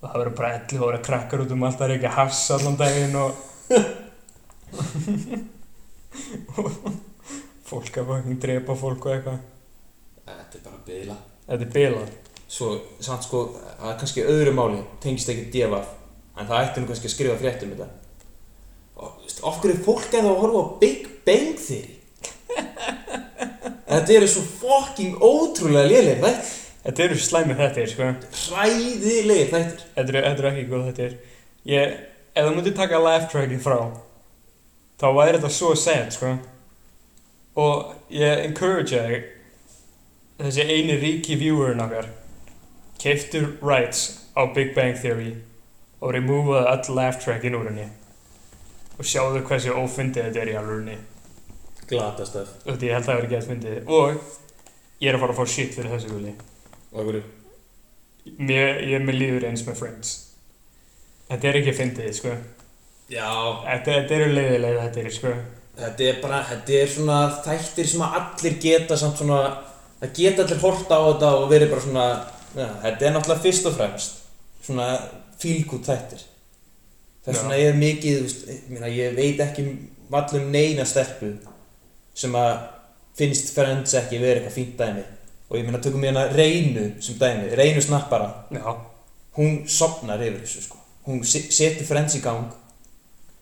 D: og það verður bara 11 ára krakkar út um allt það er ekki hass allan daginn og fólk að fucking drepa fólk og eitthvað
C: Þetta er bara bila.
D: þetta er bilað
C: Svo, samt sko, það er kannski öðru máli, tengist ekki divaf, en það ætti nú kannski að skrifa frétt um þetta. Og, þú veist, okkur er fólk eða að horfa á Big Bang Theory? þetta eru svo fokkin ótrúlega lélegir þættir.
D: þetta eru slæmið þetta er sko
C: Hræðilegir þættir.
D: Þetta er, þetta er ekki góð þetta er ég, Ef þú myndir taka laugh trackið frá Þá væri þetta svo sad sko. Og ég encourage þig Þessi eini ríki viewerinn okkar Keiftur rights á Big Bang Theory Og removaði all laugh trackin úr henni Og sjáðu hversu ófundið þetta er í alvörunni
C: Glatastöf.
D: Þetta ég held að það verið gett fyndið Og ég er að fara að fá shit fyrir þessu vilji
C: Og okkur,
D: Mér, ég mér líður eins með Friends Þetta er ekki fyndið sko
C: já,
D: Þetta, þetta eru leiðilega þetta eru sko
C: þetta er bara, þetta er svona þættir sem að allir geta samt svona, það geta allir horta á þetta og verið bara svona, ja, þetta er náttúrulega fyrst og fremst, svona fílgút þættir. Þess
D: Já.
C: vegna er mikið, þú veist, ég, meina, ég veit ekki vallum neina stelpu sem að finnst Friends ekki verið eitthvað fínt dæmi. Og ég meina, tökum ég hérna Reynu sem dæmi, Reynu snappara,
D: Já,
C: hún sopnar yfir þessu sko. hún se- setur frens í gang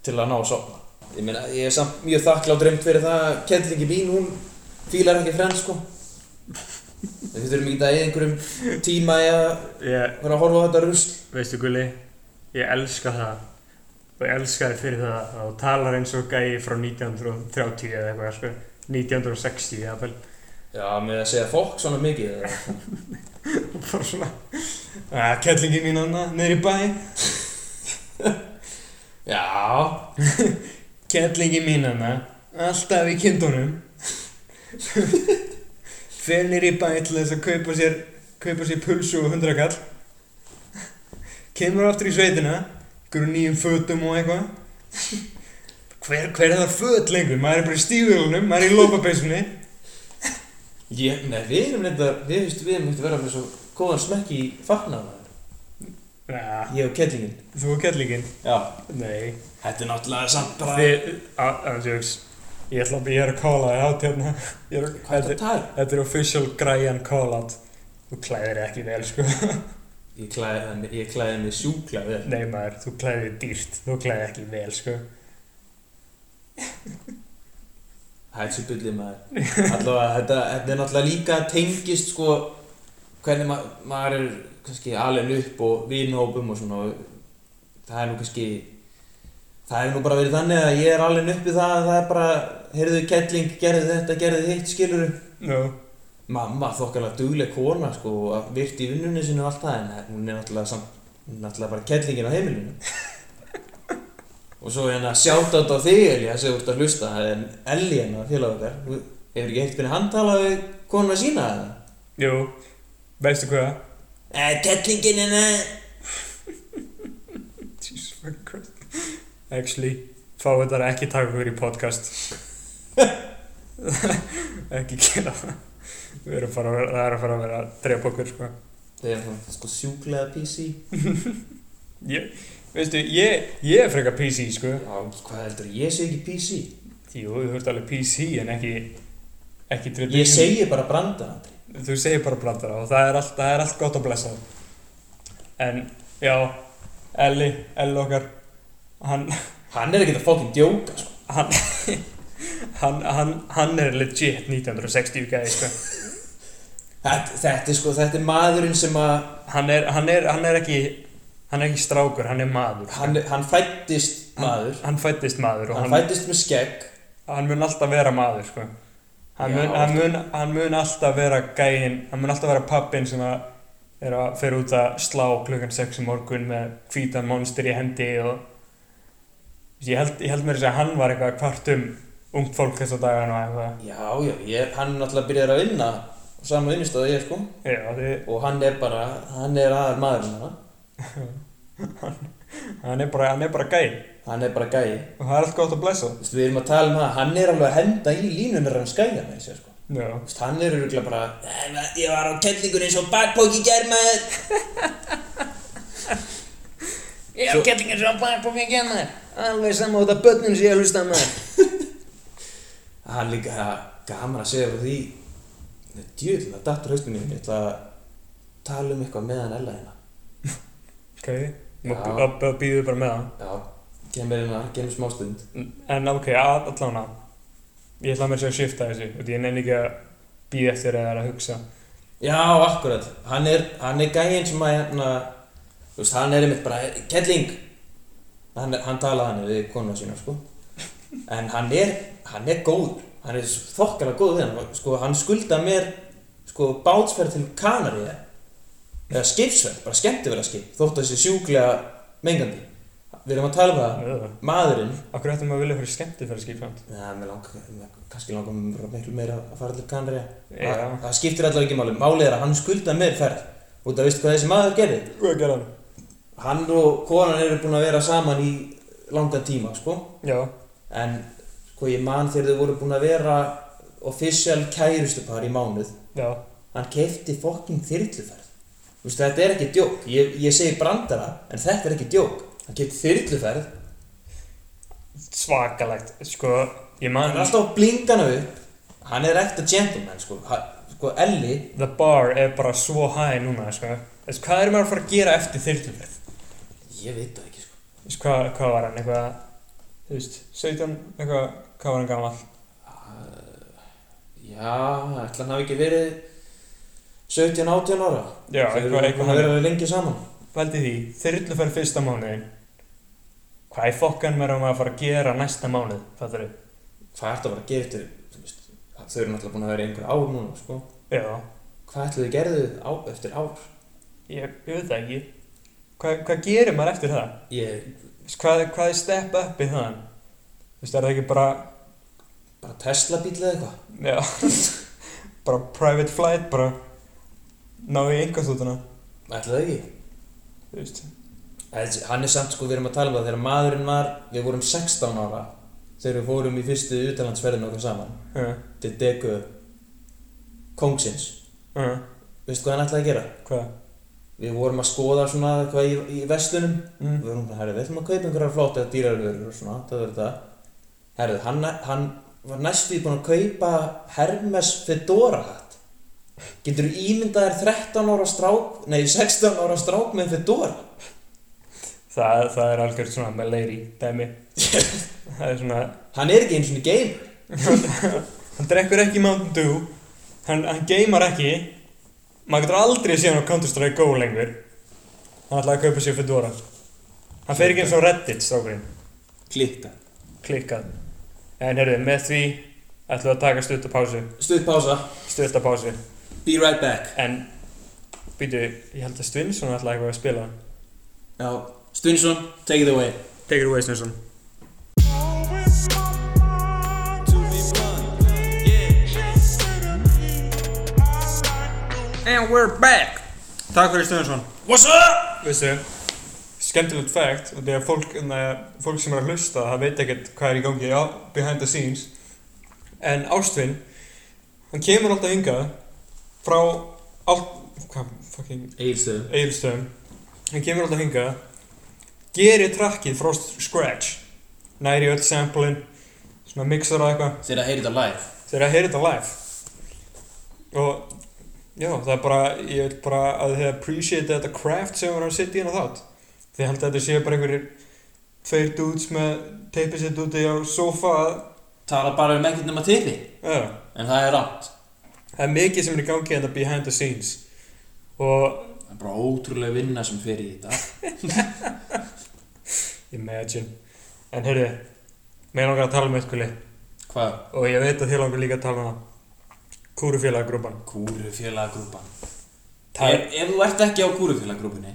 C: til að ná að sopna ég meina, ég er samt mjög þakklátt reynd fyrir það að Kendlingi mín, hún fílar ekki frens sko við þurfum ekki að eða einhverjum tíma í að
H: Ég,
C: vera að horfa á þetta rusl
H: veistu Gulli, ég elska það og ég elska þið fyrir það að þú talar eins og gæi frá 1930 eða eitthvað, sko, 1960 eða vel,
C: já, með að segja fólk svona mikið eða?
D: bara svona ah, Kettlingin mín hana, niður í bæ
C: já,
D: Kettlingin mín hana, alltaf í kindunum Fer niður í bæ til þess að kaupa sér kaupa sér pulsu og hundrakall Kemur aftur í sveitina ykkur nýjum fötum og eitthvað Hver, hver er það föt lengur? Maður er bara í stíðvölunum, maður er í lópapeysunni
C: ég, nei, við erum þetta við veist, við erum þetta vera með svo góðan smekki í fatnaðar,
D: ja,
C: ég og Kendlingin
D: Þú og kettlingin
C: já,
D: Nei
C: þetta er náttúrulega samt bara
D: Þið, aðeins ég Ég ætla að ég er að kóla þig átt hérna Ég er-
C: hvað er þetta að
D: Þetta
C: tala?
D: þetta er official græjan call out Þú klæðir þig ekki vel sko
C: Ég klæði, ég klæði mig sjúkla vel.
D: Nei maður, þú klæðir þig dýrt Þú klæðir þig ekki vel sko
C: Það er svo byllið maður. Allavega, þetta, þetta er náttúrulega líka tengist sko hvernig ma maður er kannski alveg upp og vinhópum og svona. og Það er nú kannski, það er nú bara verið þannig að ég er alveg upp í það að það er bara, heyrðu kettling, gerðu þetta, gerðu hitt, skiluru.
D: Nú,
C: Mamma þokkalega dugleg kona sko og virti í vinnunni sinni og allt það en hún er náttúrulega samt, hún er náttúrulega bara kettlingin á heimilinu. og svo hérna sjátt á þig Elía sem þú ert að hlusta, það er Elí hérna félag okkar, Þú hefur ekki eitt byrja handtala við konuna sína eða?
D: jú, veistu hvað
C: Eh, kettlingin hérna,
D: Jesus fucking Christ Actually, fá þetta að ekki taka okkur í podcast Ekki gera það Við erum bara, það er að fara að vera að drepa okkur sko
C: það er svona sko sjúklega PC.
D: Ég, veistu, ég, ég er frekar PC sko
C: Já, hvað heldur, ég sé ekki PC.
D: Jú, þú ert alveg PC en ekki ekki E.
C: Ég segi bara branda, Andri.
D: Þú segir bara brandara og það er allt, það er allt gott að blessa En já, Elli, Elli okkar hann,
C: Hann er ekkert að fokkin djóka, sko.
D: hann, hann, hann, hann er legit 1960 gæði sko.
C: Þetta, þetta, er sko, þetta er maðurinn sem að
D: hann, er, hann, er, hann er ekki hann er ekki strákur, hann er maður sko.
C: hann, hann fættist maður,
D: hann fættist maður og
C: hann
D: hann,
C: fættist með skegg
D: hann mun alltaf vera maður sko.
C: Já,
D: hann, mun, hann, mun, hann mun alltaf vera gæinn hann mun alltaf vera pappinn sem að er að fer út að slá klukkan 6 í morgun með hvítan monster í hendi og ég held, ég held mér að segja að hann var eitthvað kvart um ungt fólk þess að dagana og eitthvað
C: Já, já, ég, hann náttúrulega byrjar að vinna á sama vinnistöðu ég, sko
D: Já, þið,
C: og hann er bara, hann er aðal maðurinn hana
D: hann, er bara, hann er bara gæinn
C: hann er bara gæi,
D: og það er allt gott að blessa
C: þú veist, við erum að tala um það hann er alveg að henda í línunar hann skæja með þessu, sko
D: Já,
C: Þú veist, hann er örgulega bara "Ég- ég var á kellingunni eins og bakpóki gerð maður ég var á kellingunni eins og bakpóki gerð maður alveg saman á þetta börnun sem ég að hlusta maður hann líka það er gaman að segja frá því það er djöðlega það dattur haustinni ég ætla að tala um eitthvað meðan Ella hérna
D: ok
C: Já.
D: og býðu bara með það
C: já, kemur hérna, kemur smá stund
D: En ok, að- allan að Ég ætla að mér sér að shifta þessu og ég nenni ekki að býða eftir eða að hugsa
C: já, akkurat, hann er, hann er gæinn sem að hérna þú veist, hann er einmitt bara kelling hann, hann talaði hann við konuna sína sko en hann er, hann er góður hann er þokkala góður við hann sko, hann skulda mér sko bátsferð til Kanaríða eða skipsferð, bara skemmtiverða skip þótt að þessi sjúklega mengandi við erum að tala um það,
D: Ugh.
C: maðurinn
D: Akkur ættum að vilja fyrir skemmti fyrir skipfjönd
C: Nei, mér langar, kannski langar mér miklu meira að fara til Kanaríða
D: Já.
C: Það- það skiptir allar ekki máli, málið er að hann skulda mér ferð og það veistu hvað þessi maður gerði
D: Hvað gerði hann?
C: hann og konan eru búin að vera saman í langan tíma sko
D: Já,
C: en sko ég man þegar þau voru búin að vera official kærustupar í mánuð
D: já,
C: hann kefti fokking þyrluferð Þú veist, þetta er ekki djók ég, ég segi brandara en þetta er ekki djók hann kefti þyrluferð
D: svakalegt Sko, ég man
C: hann er alltaf blingana upp hann er ekta gentleman sko, ha, sko Ellie
D: The bar er bara svo high núna, sko Þess, Hvað erum við að fara að gera eftir þyrlumferð?
C: ég veit það ekki sko
D: Þess, hvað, hvað var hann, eitthvað Þú veist, 17, eitthvað, hvað var hann gamall?
C: Ah, já, ætla hann hafi ekki verið 17-18 ára
D: Já,
C: þau eru
D: eitthvað- eitthvað
C: búin að vera lengi saman
D: Vældi því, þyrluferð fyrsta mánuðin Hvað er fokkan mér að maður að fara að gera næsta mánuð, fattar við?
C: hvað ertu að vera að gera eftir þú veist, að þau eru náttúrulega búin að vera í einhver ár núna sko.
D: Já,
C: hvað ætlu þau gerðu á, eftir ár
D: Ég, ég veit það ekki. Hva, hvað gerir maður eftir það?
C: ég
D: Þú veist, Hvað, hvað er step up í þann? Þú veist, er það ekki bara,
C: bara Tesla bíl eða eitthvað
D: já, bara private flight, bara ná í einhverstútuna,
C: ætlu þau ekki
D: þú veist.
C: Þessi- hann er samt sko við erum að tala um það þegar maðurinn var við vorum 16 ára þegar við fórum í fyrstu utalandsferðin okkar saman
D: Uh,
C: til Degu Kongsins
D: uh,
C: veistu hvað hann ætlaði að gera
D: hvað?
C: við vorum að skoða svona eitthvað í, í vestunum
D: Mm.
C: við vorum bara, herru, við ætlum að kaupa einhverjar flotta dýrarverur og svona, það verður það herru, hann, hann var næstu í búin að kaupa Hermes Fedora hatt getur þú ímyndað þér 13 ára strák nei, 16 ára strák með Fedora
D: Það, það er algjörð svona með leiri, dæmi. það er svona,
C: hann er ekki eins og game
D: hann drekkur ekki Mountain Dew, hann, hann geymar ekki, maður getur aldrei séð hann á Counter-Strike Go lengur. Hann ætlaði að kaupa sér Fedora. Hann fer ekki eins og Reddit, strákurinn.
C: klikka,
D: klikkað en herðu, með því ætlum við að taka stuttapásu
C: stuð pása,
D: stuttapásu
C: be right back
D: en býtu, ég held að Stvinsson ætlaði eitthvað að spila
C: já, Stunson, take it away
D: Take it away Stvinsson And we're back Takk fyrir Stvinsson
C: what's up?
D: Veistu, skemmtilegt fact og þegar fólk, na, fólk sem er að hlusta það veit ekkert hvað er í gangi á, behind the scenes en Ástvin hann kemur alltaf hingað frá all, hvað, fucking
C: Egilstöðum,
D: Egilstöðum hann kemur alltaf hingað gerir trakkið frá scratch næri öll samplin svona mixar og eitthvað
C: þegar að heyri þetta live
D: þeir eru að heyra þetta live og já, það er bara ég vil bara að þið appreciate þetta craft sem við erum að setja inn á þátt Þið haldið að þetta séu bara einhverjir tveir dudes með teipið sitt úti á sofa
C: Tala bara um ekkert nema teipi
D: Já,
C: En það er rátt
D: það er mikið sem er í gangi en það behind the scenes og
C: Það er bara ótrúlega vinna sem fer í þetta
D: imagine En heyrðu, mér langar að tala um eitthvað lið
C: Hvað?
D: og ég veit að þið langar líka að tala um það Kúrufélagrúban
C: Kúru félagagrúpan
D: Það
C: ef, ef þú ert ekki á kúru félagagrúpunni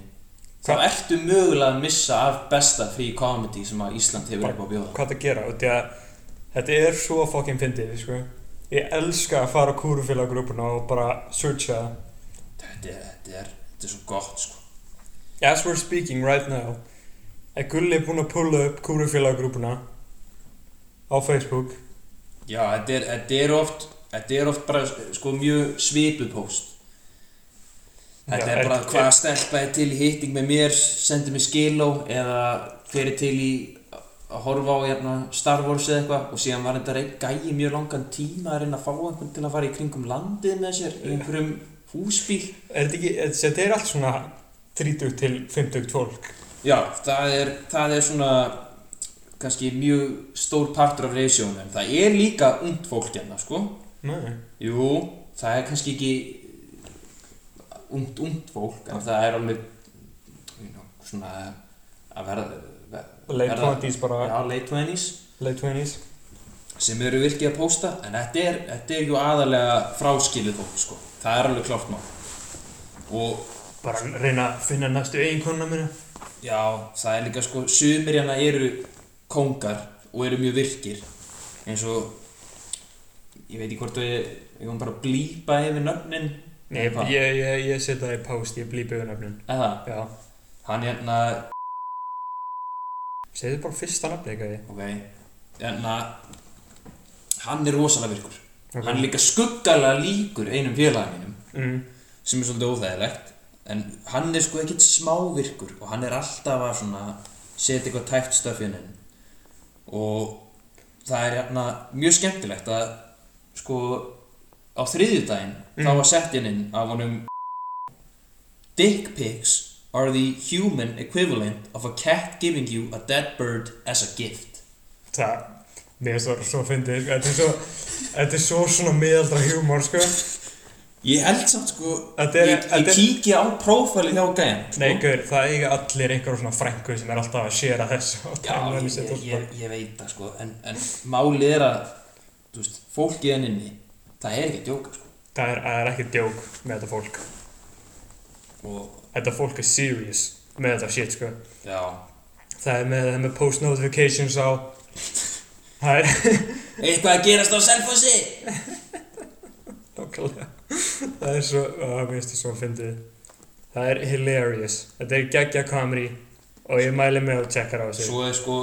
C: Þá ertu mögulega að missa af besta frí comedy sem að Ísland hefur upp á að bjóða
D: hvað það gera og því að þetta er svo fucking fyndið, sko Ég elska að fara á kúrufélagrúbuna og bara searcha það
C: Þetta er, þetta er, þetta er svo gott sko
D: As we're speaking right now er Gulli búinn að pulla upp kúrufélagrúpuna á Facebook
C: Já, þetta er, þetta er oft Þetta er oft bara sko mjög svipupóst Þetta
D: Já,
C: er bara
D: þetta-
C: hvaða stelpa er til í hitting með mér Sendi mér skiló Eða fyrir til í að horfa á hérna, Star Wars eða eitthvað og síðan var þetta einn gæi í mjög langan tíma að reyna að fá einhvern til að fara í kringum landið með sér í einhverjum húsbíl
D: Er þetta ekki, er- þetta er allt svona 30 til 50 fólk
C: Já, það er, það er svona kannski mjög stór partur af reisjónum en það er líka und fólk hérna sko
D: Nei,
C: Jú, það er kannski ekki ungt, ungt fólk en það er alveg you know, svona að verða ver-
D: late
C: verða-
D: 20s bara,
C: Já, late 20s
D: late 20s
C: sem eru virkið að pósta en þetta er, þetta er jú aðalega fráskilið fólk sko, það er alveg klárt mál og
D: Bara reyna að finna næstu eiginkonna minna
C: já, það er líka sko sumir hérna eru kóngar og eru mjög virkir eins og ég veit ekki hvort við við komum bara að blípa yfir nöfnin
D: Nei, ég, ég, ég, ég setja það í post, ég blíp yfir nöfnum
C: eða,
D: Já,
C: hann hérna
D: segðu bara fyrsta nafni eitthvað ég
C: Ok, en að hann er rosalega virkur
D: Ok.
C: Hann er líka skuggalega líkur einum félagin mínum
D: mm.
C: sem er svolítið óþægilegt en hann er sko ekkert smávirkur og hann er alltaf að svona setja eitthvað tækt stöfin inn og það er hérna mjög skemmtilegt að sko á þriðjudaginn þá
D: Mm.
C: var sett inn inn af honum Dick pics are the human equivalent of a cat giving you a dead bird as a gift
D: Það, mér finnst það svo fyndið, sko Þetta er svo, þetta er svo svona miðaldra humor, sko
C: Ég held samt sko
D: Þetta
C: Ég,
D: er-
C: ég
D: þetta er-
C: kíki á prófæli hjá gæðan sko.
D: Nei, gaur, það eiga allir einhverjum svona frængu sem er alltaf að séra þessu og
C: Já,
D: tala um
C: ég,
D: þessi
C: ég, ég,
D: fólk.
C: ég veit það sko En, en málið er að þú veist, Fólkið enn inni Það er ekki að djóka sko
D: Það er, það er ekki djók með þetta fólk.
C: sko, Og
D: Þetta fólk er serious með þetta shit, sko.
C: já
D: Það er með, það er með post notifications á... Það er...
C: Eitthvað að gerast á selfossi
D: Nákvæmlega. Það er svo, á, mér finnst það svo fyndið. Það er hilarious. Þetta er geggja kamri og ég mæli mig að checka það á sig.
C: Svo er sko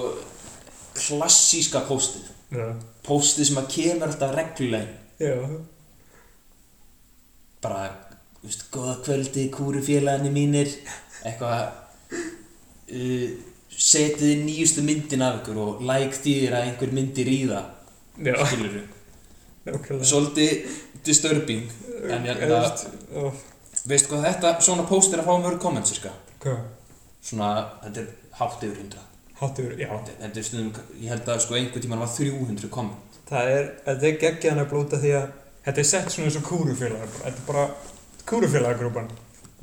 C: Klassíska póstið
D: Já.
C: Póstið sem að kemur alltaf reglulegin
D: Já.
C: Bara, þú veist, góða kvöldi Kúrufélagani mínir Eitthvað uh, Setið nýjustu myndin af ykkur Og like þýðir að einhver myndir í það
D: Já,
C: skilur
D: nákvæmlega.
C: svolítið disturbing en
D: Þú
C: hérna,
D: veist, ó,
C: veist hvað þetta svona post er að fá um mörg komment cirka
D: Hvað?
C: svona, þetta er hátt yfir 100
D: Hattur, já.
C: Þetta- þetta er stundum, ég held að sko einhver tíma var 300 komment
D: Það er, þetta er geggjaðan að blóta því að þetta er sett svona eins og kúrufélagar, bara- þetta er bara kúrufélagargrúpan.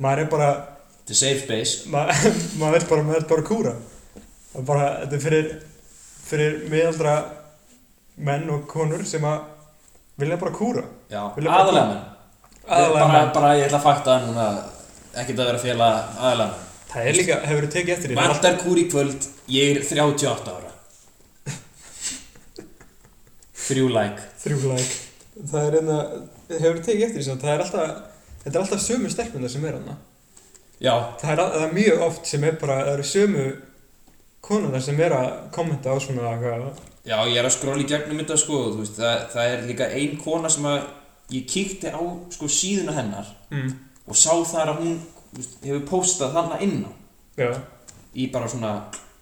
D: Maður er bara,
C: þetta er safe space
D: maður, maður er bara, maður er bara að kúra. Það er bara, þetta er fyrir, fyrir miðaldra menn og konur sem að vilja bara kúra.
C: já,
D: Vilja bara-
C: aðalega menn
D: Aðallega
C: bara,
D: menn.
C: bara ég ætla að fakta það núna ekkert að vera félag aðalega menn
D: Það er líka, hefur þið tekið eftir því, það er
C: vantar kúr í kvöld, ég er 38 ára þrjú like
D: alltaf þrjú læk. Það er einna, hefur þið tekið eftir því, samt, það er alltaf, þetta er alltaf sömu stelpunar sem er hana.
C: já,
D: Það er, það er mjög oft sem er bara, það eru sömu konuna sem er að kommenta á svona eitthvað
C: Já, ég er að skróla í gegnum þetta sko, þú veist, það, það er líka ein kona sem að ég kíkti á sko síðuna hennar
D: Mm.
C: og sá þar að hún þú veist, hefur postað þarna inn á
D: Já,
C: í bara svona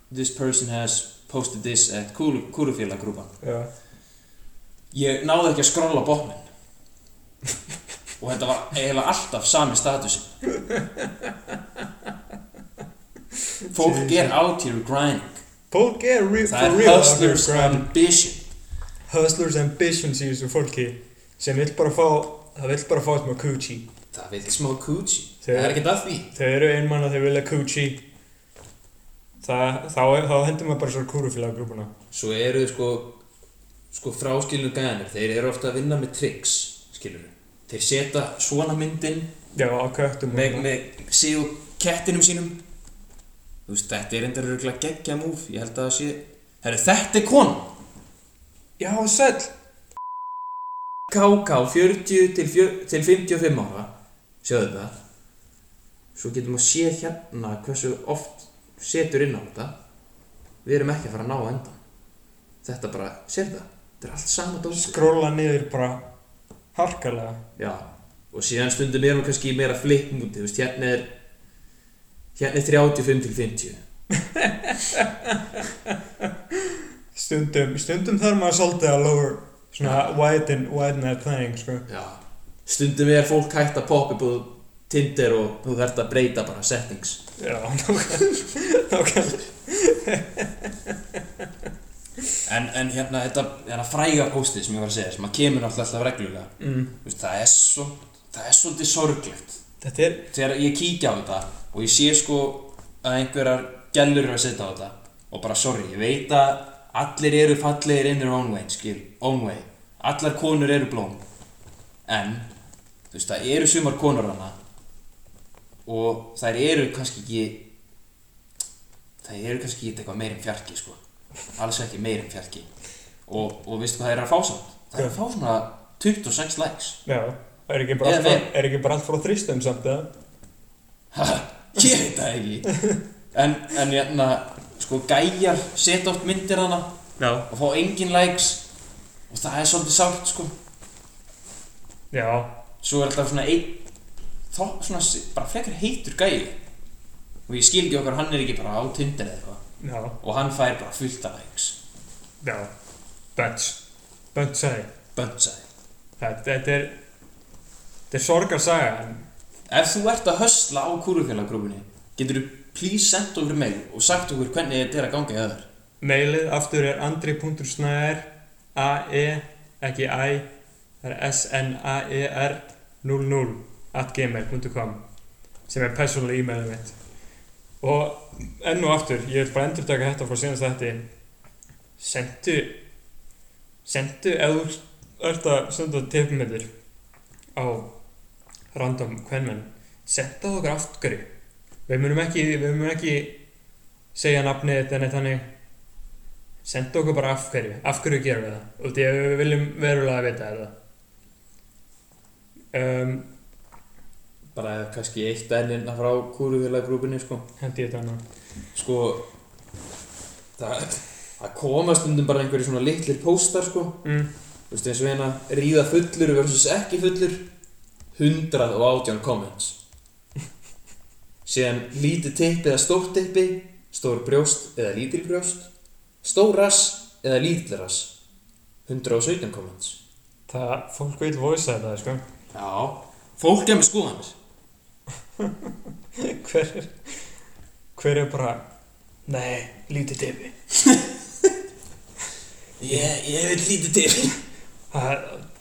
C: this person has posted this at kúrufélagrúpan
D: já.
C: Ég náði ekki að skróla botnin og þetta var eiginlega alltaf sami statusin
L: Fólk er out here grinding
D: Fólk er re
L: Það
D: for
L: er
D: real
L: hustlers
D: underground.
L: ambition
D: Hustlers ambitions í þessu fólki sem vill bara fá það vill bara fá smá coochie
C: Það vil smá kúchi
D: Þau-
C: Það er ekkert að því
D: þau eru einmann að þau vilja coochie það, þá, þá hendur maður bara svo kúrufélag grúpuna
C: Svo eru þau sko sko fráskilinu gæðanir Þeir eru ofta að vinna með tricks skilur Þeir setja svona myndin
D: já, á köttum og-
C: með, með síðu kettinum sínum Þú veist, þetta er endur örgulega geggja múf Ég held að það sé Herru, þetta er kon
D: já, sæll
C: KK 40 til, fjör- til 55 ára Sjáðu þetta Svo getum við að sé hérna hversu oft setur inn á þetta Við erum ekki að fara að ná á endan Þetta bara, sér þetta Þetta er allt sama dótið
D: skróla niður bara harkalega
C: Já, og síðan stundum erum við kannski í meira flipmúti, þú veist, hérna er hérna er 35 til 50
D: stundum, stundum þarf maður svolítið að lower svona widen, widen that thing sko.
C: Já, stundum er fólk hægt að poppa upp á Tinder og þú þarft að breyta bara settings
D: já, nákvæmlega
L: En, en hérna, þetta, hérna fræga póstið sem ég var að segja, sem að kemur náttúrulega alltaf reglulega mm. Vist, það, er svo, það er svolítið sorglegt
D: þetta er,
L: Þegar ég kíkja á þetta og ég sé sko að einhverjar gælur eru að setja á þetta og bara sorry, ég veit að allir eru fallegir in their own way, skil, own way Allar konur eru blóm En, þú veist, það eru sumar konur hana og þær eru kannski ekki þær eru kannski ekki eitthvað meir en fjarki, sko alls ekki meir en fjarki og, og veistu hvað þær eru að fá samt? Þær eru að fá svona 26 likes
D: já er ekki bara,
L: Eða
D: allt frá,
L: við-
D: er ekki bara allt frá þrýstum samt eða?
L: Ha, ég veit það ekki en, en hérna sko gæjar setja oft myndir hana
H: Já,
L: og fá engin likes og það er svolítið sátt sko
D: já,
L: svo er alltaf svona einn þá svona s- bara frekar heitur gæi og ég skil ekki okkar hann er ekki bara á Tinder eða eitthvað
D: já,
L: og hann fær bara fullt af likes
D: já bunch, bunch sagði
L: bönnsæði
D: þetta, þetta er þetta er sorgarsaga en
L: ef þú ert að hösla á kúrufélaggrúfinni getur þú please senda okkur mail og sagt okkur hvernig þetta er að ganga í öður
D: mailið aftur er andri.snæðar a-e, ekki i það er s-n-a-e-r 00 at gmail.com sem er personal e-mailið mitt og enn og aftur ég vil bara endur taka þetta frá síðanst þetta sendu sendu ef þú ert að senda tipmyndir á random kvenmenn senda þú okkur aftur við munum ekki, við munum ekki segja nafnið þetta neitt þannig senda okkur bara af hverju af hverju gerum við það og því að við viljum verulega vita þetta um,
C: bara kannski eitt ennina frá kúrufélaggrúfinni sko
D: hendi ég þetta annað
C: sko það, það koma stundum bara einhverju svona litlir póstar sko
D: mm,
C: þú veist eins og hérna ríða fullur versus ekki fullur 118 comments síðan lítið tippi eða stórt tippi stór brjóst eða lítil brjóst stór rass eða lítil rass 117 comments
D: það, fólk vil voisa þetta sko.
L: já, fólk er með skoðanir
D: hver er hver er bara nei, lítið defi
L: ég, ég vil lítið til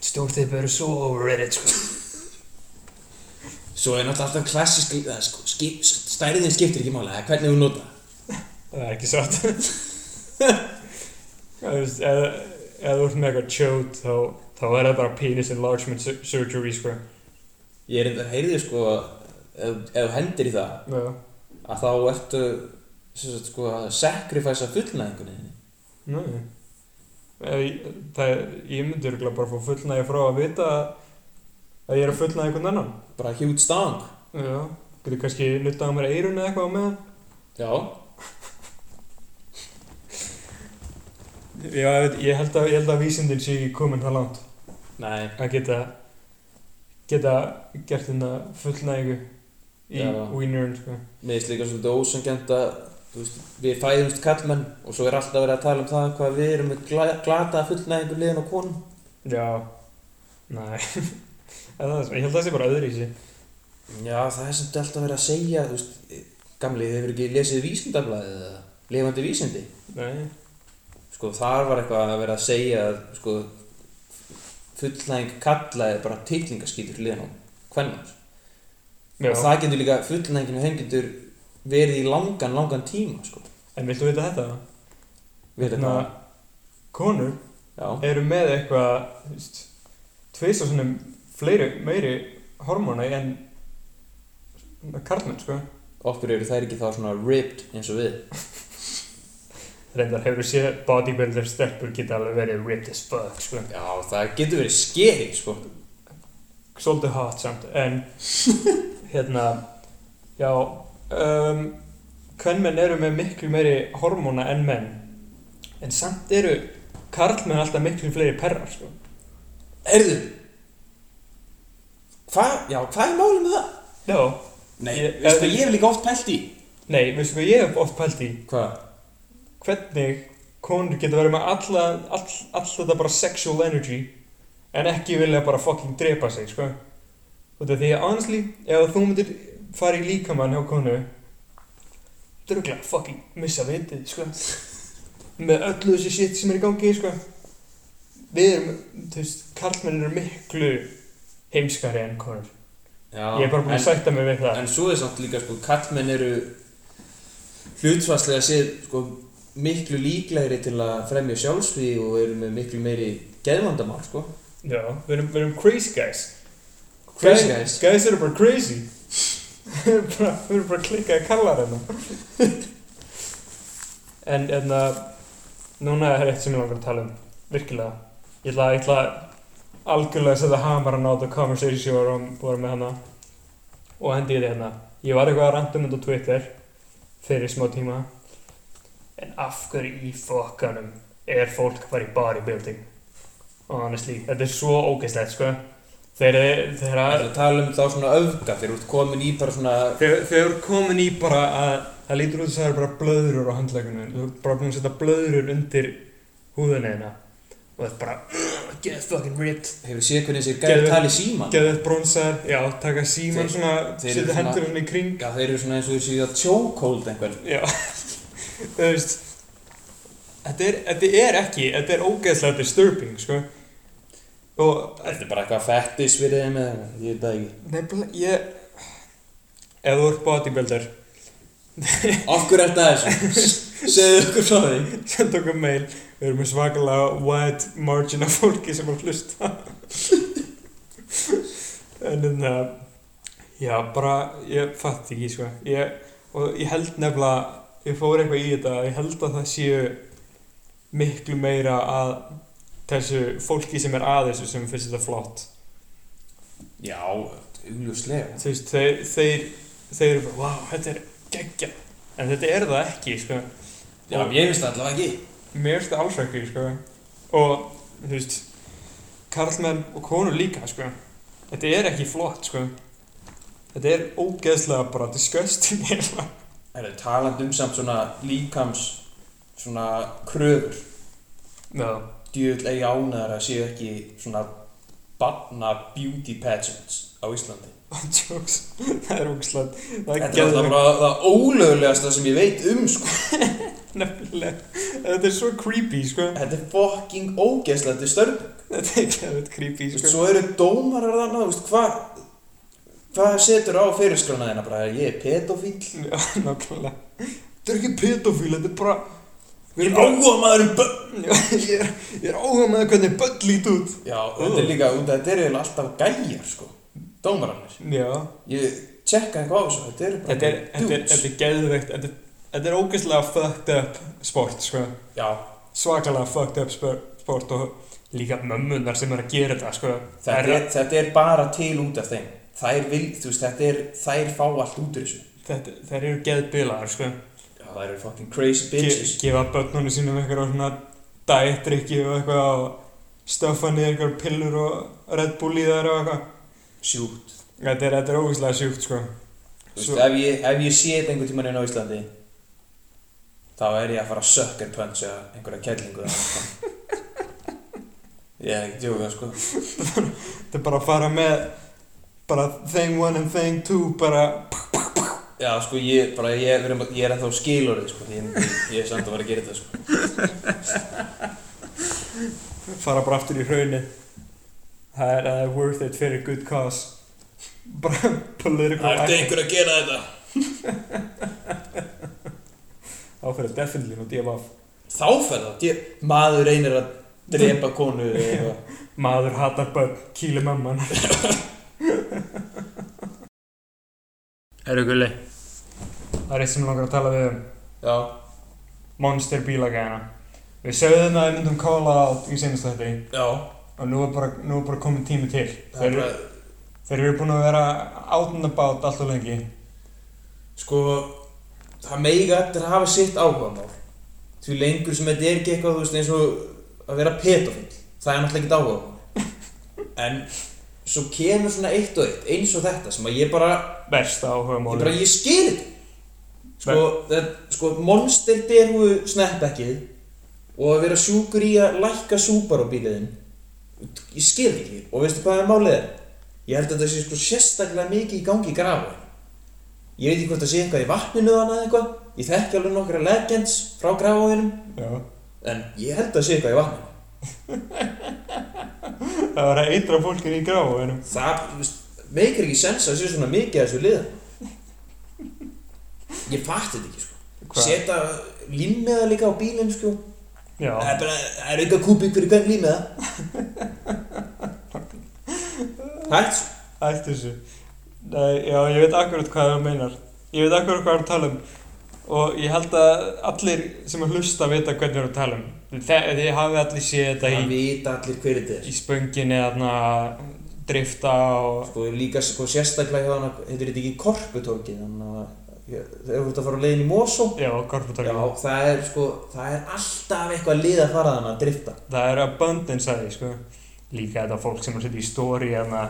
D: stórþeipi eru svo overrated sko.
L: Svo er náttúrulega alltaf klassisk eða sko, skip, stærðin skiptir ekki máli, eða hvernig þú nota það.
D: það er ekki satt eða eða þú ert með eitthvað tjóð þá, þá er það bara penis enlargement sur- surgery sko.
C: ég er enda heyrðið sko að ef ef þú hendir í það
D: já,
C: að þá ertu sem sagt, sko, að sacrifæsa fullnæðingunni
D: Nei. Ég, það, ég myndi örgulega bara fá fullnægi frá að vita að- að ég er að fullnægi einhvern annan.
C: bara hjút stang
D: Já. Getur kannski nuttað á mér eirun eða eitthvað á meðan.
C: já,
D: Já, ég, veit- ég, held að, ég held að vísindin sé ekki komin það langt
C: nei
D: að geta, geta gert þetta fullnægingu í
C: Já.
D: wienerinn, sko.
C: Mér finnst líka svolítið ósangjant að þú veist, við fæðumst kallmenn og svo er alltaf verið að tala um það hvað við erum með gla glata fullnæðingu liðan á konum
D: Já. Nei. En það, ég held að það sé bara öðru í sig.
C: Já, það er sem þetta alltaf verið að segja þú veist, Gamli, þið hefur ekki lesið vísindablaðið eða lifandi vísindi?
D: Nei,
C: Sko, þar var eitthvað að vera að segja að, sko, fullnæðing kalla er bara titlingaskýtur liðan á hvernans.
D: já.
C: Og það getur líka, fullnæðingin og þeim getur verið í langan, langan tíma, sko.
D: En viltu vita þetta?
C: Við erum
D: Hérna,
C: það,
D: konur
C: já,
D: eru með eitthvað, þú veist, tveist og svona fleiri, meiri hormóni en karlmenn, sko.
C: okkur eru þær ekki þá svona ripped eins og við.
D: Reyndar hefur séð bodybuilder stelpur geta alveg verið ripped as fuck, sko.
C: Já, það getur verið skeri, sko.
D: Svolítið hot samt, en hérna, já, um, kvennmenn eru með miklu meiri hormóna en menn. En samt eru karlmenn alltaf miklu fleiri perrar, sko.
C: Erðu, hvað, já, hvað er málið með það?
D: Já,
L: Nei,
D: Ég-
L: veistu hvað ég hef líka oft pælt í?
D: nei, veistu hvað ég hef oft pælt í?
C: Hvað?
D: hvernig konur geta verið með alla, all, all þetta bara sexual energy en ekki vilja bara fucking drepa sig, sko. Út af því að honestly, ef þú myndir fara í líkamann hjá konu, druglega fucking missa vitið, sko. Með öllu þessi shit sem er í gangi, sko. Við erum, þú veist, karlmenn eru miklu heimskari en konur.
C: Já,
D: Ég er bara búin
C: en-
D: að sætta mig við það.
C: En svo er samt líka, sko, kallmenn eru hlutsvarslega séð, sko, miklu líklegri til að fremja sjálfsví og eru með miklu meiri geðvandamál, sko.
D: Já, við erum, við erum crazy guys.
C: Crazy guys.
D: Guys eru bara crazy bara, Við erum bara klikkað að kalla hérna En enna Núna er eitt sem ég langar að tala um Virkilega Ég ætla, ég ætla algjörlega að setja hamaran á þetta conversation sem ég var um- voru með hana Og hendi ég þetta hérna Ég var eitthvað að ranta um þetta á Twitter Fyrir smá tíma En af hverju í fokkanum Er fólk bara í bodybuilding Honestly, þetta er svo ógeðslegt sko Þeir eru Þeir
C: Það er að tala um þá svona öfga þegar þú ert komin í bara svona,
D: Þegar þegar þú eru komin í bara að það lítur út þess að það eru bara blöðrur á handlækunu þú ert bara búin að setja blöðrur undir húðuna hérna og það er bara "Ugh, get fucking ripped
C: hefur séð hvernig þessir
D: Geðveikt-
C: gæði tala í síman.
D: geða þetta bronsar, já, taka síman
C: Þeir-
D: svona,
C: þeir eru
D: setja
C: svona-
D: hendur svona í kring
C: Já, þeir eru svona eins og þeir séu að chokehold einhvern.
D: já, þú veist þetta er, þetta er ekki þetta er ógeðslega disturbing, sko og
C: Þetta er bara eitthvað fettis við þeim eða, eitthvað, ég veit það ekki.
D: nefnilega, ég ef þú ert bodybuilder
C: Okkur er þetta þessu, segðu okkur svo því.
D: senda okkur mail við erum með svakalega wide margin af fólki sem er að hlusta en en það já bara ég fatt ekki sko ég, og ég held nefnilega ég fór eitthvað í þetta ég held að það séu miklu meira að þessu fólki sem er að þessu sem finnst þetta flott
C: Já, augljóslega.
D: þú veist, þeir, þeir, þeir eru bara, wow, þetta er geggja en þetta er það ekki sko
C: Já, ég finnst það allavega ekki.
D: Mér finnst það alls ekki, sko. Og, þú veist, karlmenn og konur líka, sko. Þetta er ekki flott, sko. Þetta er ógeðslega bara disgusting, eiginlega.
C: Það er talandi um samt svona líkams svona kröfur
D: Já.
C: djöðl eigi ánæðar að séu ekki svona barna beauty pageants á Íslandi
D: Jokes. það er ógeðslega, það er
C: Þetta er alltaf
D: geðveikt.
C: bara það ólögulegasta sem ég veit um sko
D: Nefnilega. Þetta er svo creepy, sko.
C: Þetta er fucking ógeðslega þetta er störn
D: Þetta er geðveikt
C: Þú
D: creepy,
C: veist,
D: sko.
C: Svo eru dómarar þarna, þú veist, hvað hvað setur á fyrirskrana þína bara, ég er pedofíl
D: Já, nákvæmlega. Þetta er ekki pedofíl, þetta er bara...
C: Ég er áhuga maður um börn
D: Já, ég er, ég er áhuga með hvernig börn lít út.
C: Já, þetta er líka, út af þetta er eiginlega alltaf gæjar sko, dómararnir
D: Já.
C: Ég tjekka eitthvað á þessu, þetta eru bara
D: Þetta er, þetta er,
C: dudes.
D: þetta er geðveikt, þetta, þetta er ógeðslega fucked up sport, sko.
C: Já,
D: Svakalega fucked up spor- sport og líka mömmunar sem er að gera þetta, sko.
C: þetta er, þetta er bara til út af þeim þær vil, þú veist, þetta er þær fá allt út úr þessu
D: þetta, þær eru geðbilaðar, sko.
C: já, þær eru fucking crazy
D: Ge,
C: bitches
D: gefa börnunum sínum eitthvað svona dietdrykki og eitthvað og stöffa niður eitthvað pillur og Red Bull í þær og eitthvað.
C: sjúkt,
D: Þetta er, þetta er ógeðslega sjúkt, sko.
C: þú veist,
D: Svo-
C: ef ég, ef ég sé þetta einhvern tímann inn á Íslandi þá er ég að fara að sucker punch eða einhverja kellingu eða eitthvað. ég er ekki djóka, sko
D: Þetta er bara að fara með bara thing one and thing two, bara
C: Já, sko, ég, bara, ég, við erum að- ég er ennþá skilorið, sko, ég, ég er samt að vera að gera þetta, sko.
D: fara bara aftur í hraunni það er uh, worth it fyrir good cause bara political
C: Það er einhver að gera þetta.
D: þá fyrir definitely nú DMF
C: Þá fer það. Ég, maður reynir að drepa konu eða eitthvað.
D: maður hatar börn, kýli mamman
H: Eru gulli?
D: það er eitt sem mig langar að tala við um
C: Já,
D: monster bílagæðina við sögðum að við myndum kóla át í senast þetta
C: já.
D: og nú er bara, nú er bara komin tími til
C: Það er
D: þeir,
C: bara,
D: þeir eru búin að vera out and about allt og lengi
C: sko, það meiga eftir að hafa sitt áhugamál. Því lengur sem þetta er ekki eitthvað, þú veist, eins og að vera pedofill. Það er náttúrulega ekkert áhugamál. En svo kemur svona eitt og eitt, eins og þetta, sem að ég bara,
D: versta áhuga
C: ég bara,
D: máli
C: ég skil þetta. Sko, það, sko, monster derhúu snapbackið og að vera sjúkur í að lækka súpar á bíliðin. Ég skil þetta ekki. Og veistu hvað er málið er? Ég held að þetta sé sko sérstaklega mikið í gangi í grafa. Ég veit ekki hvort það sé eitthvað í vatninu þannig eða eitthvað. Ég þekki alveg nokkra legends frá grafaðinum. En ég held að það sé eitthvað í vatninu.
D: það var að eitra fólkin í gráfunum
C: Það, þú veist, meikir ekki sens að það sé svona mikið að þessu liðan. Ég fatti þetta ekki, sko.
D: Hvað?
C: Seta límmiða líka á bílinn, sko.
D: já,
C: Það er bara, það er auka kúbík fyrir hvern límiða. Hætt, sko.
D: ætti þessu Nei, já, ég veit akkurat hvað það meinar ég veit akkurat hvað það tala um og ég held að allir sem að hlusta vita hvernig það tala um þegar þið hafið allir séð þetta
C: Það
D: í,
C: vita allir hver þetta er.
D: í spönginni þarna drifta og
C: Sko, líka, sko, sérstaklega hjá hana, heitir þetta ekki korputorkið, þannig að ég- þegar þú ert að fara á leiðin í Mosó,
D: já,
C: já,
D: korputorki
C: það er, sko, það er alltaf eitthvað lið að fara þannig að drifta.
D: það er abundance að því sko. líka þetta fólk sem að setja í stóri þarna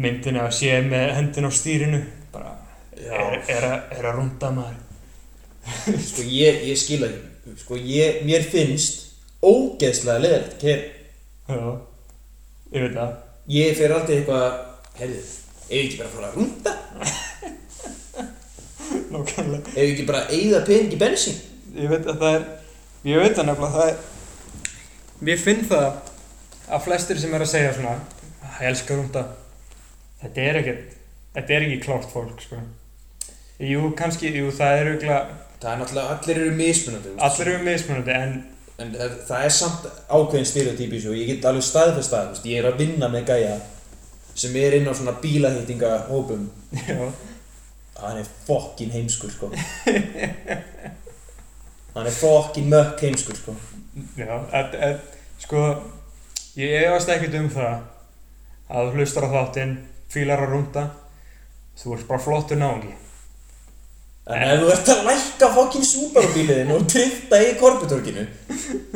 D: myndina að sé með hendin á stýrinu bara er, er, að, er að runda maður
C: Sko ég, ég skil að Sko ég, mér finnst Ógeðslega leðilegt Ker,
D: já, ég veit það
C: Ég fer aldrei eitthvað Herðu, ef ég ekki bara að fara að runda
D: nákvæmlega
C: Ef ég ekki bara að eyða pening í bensín
D: ég veit að það er ég veit það nefnilega það er mér finn það að flestir sem er að segja svona "Ah, ég elska rúnda þetta er ekki þetta er ekki klárt fólk sko jú kannski, jú það er auðvitað
C: Það er náttúrulega, allir eru mismunandi þú veist.
D: allir eru mismunandi en
C: En það það er samt ákveðin stereotypis Og ég get alveg staðfest það þú veist, Ég er að vinna með gæja Sem er inn á svona bílahýtinga hópum
D: já,
C: Hann er fokkin heimskur sko Hann er fokkin mökk heimskur sko
D: já en, en, sko ég efast ekkert um það að þú hlustar á þáttinn fílar að rúnda þú ert bara flottur náungi
C: En ef þú ert að lækka fokkin súparabíliðin og drifta í korputorkinu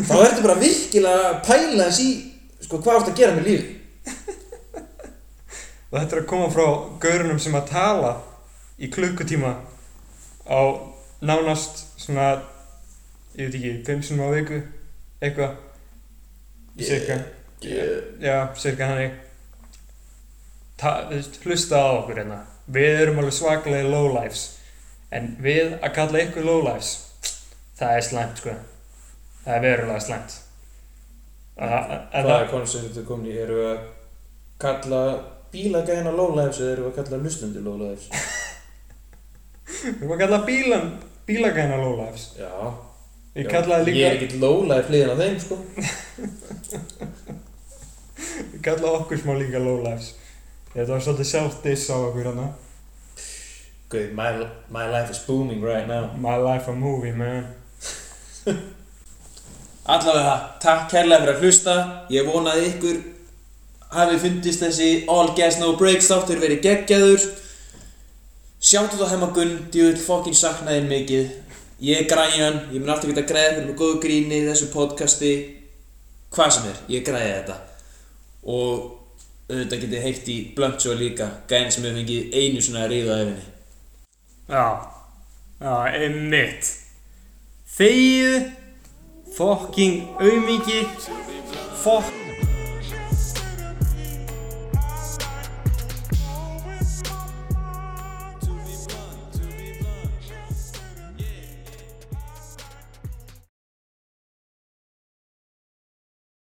C: þá ertu bara virkilega að pæla þess í sko, hvað ertu að gera með lífi
D: og þetta er að koma frá gaurunum sem að tala í klukkutíma á nánast svona ég veit ekki, fimm sinum á viku eitthvað
C: Ég-
D: cirka,
C: ég-
D: já, cirka hannig Ta, þú veist, hlusta á okkur hérna við erum alveg svaklega lowlifes en við að kalla ykkur lowlifes það er slæmt sko það er verulega slæmt það
C: koncept þetta komin í? Eru að kalla bílagæðina lowlifes eða eru að kalla lustundir lowlifes?
D: við erum að kalla bílan bílagæna lowlifes
C: Já
D: ég
C: Já,
D: kallaði líka
C: Ég er ekkert lowlife hliðin á þeim sko
D: Ég kalla okkur smá líka lowlifes Þetta var svolítið self-diss á okkur hérna
C: Good, my, my life is booming right now
D: My life a movie man
C: Allavega, takk kærlega fyrir að hlusta. Ég vona að ykkur hafi fundist þessi All Gas No Breaks þáttur verið geggjaður. Sjáttu þá heima Gunn, djúvill fokkin saknaðin mikið. Ég er græjan, ég mun alltaf geta græðið fyrir með góðu gríni í þessu podcasti. Hvað sem er, ég græði þetta. Og auðvitað getið heitt í Blunt Show líka, gæðin sem hefur fengið einu svona að ríða af henni.
H: Já, já, einmitt Þegið Fokking aumingi Fokk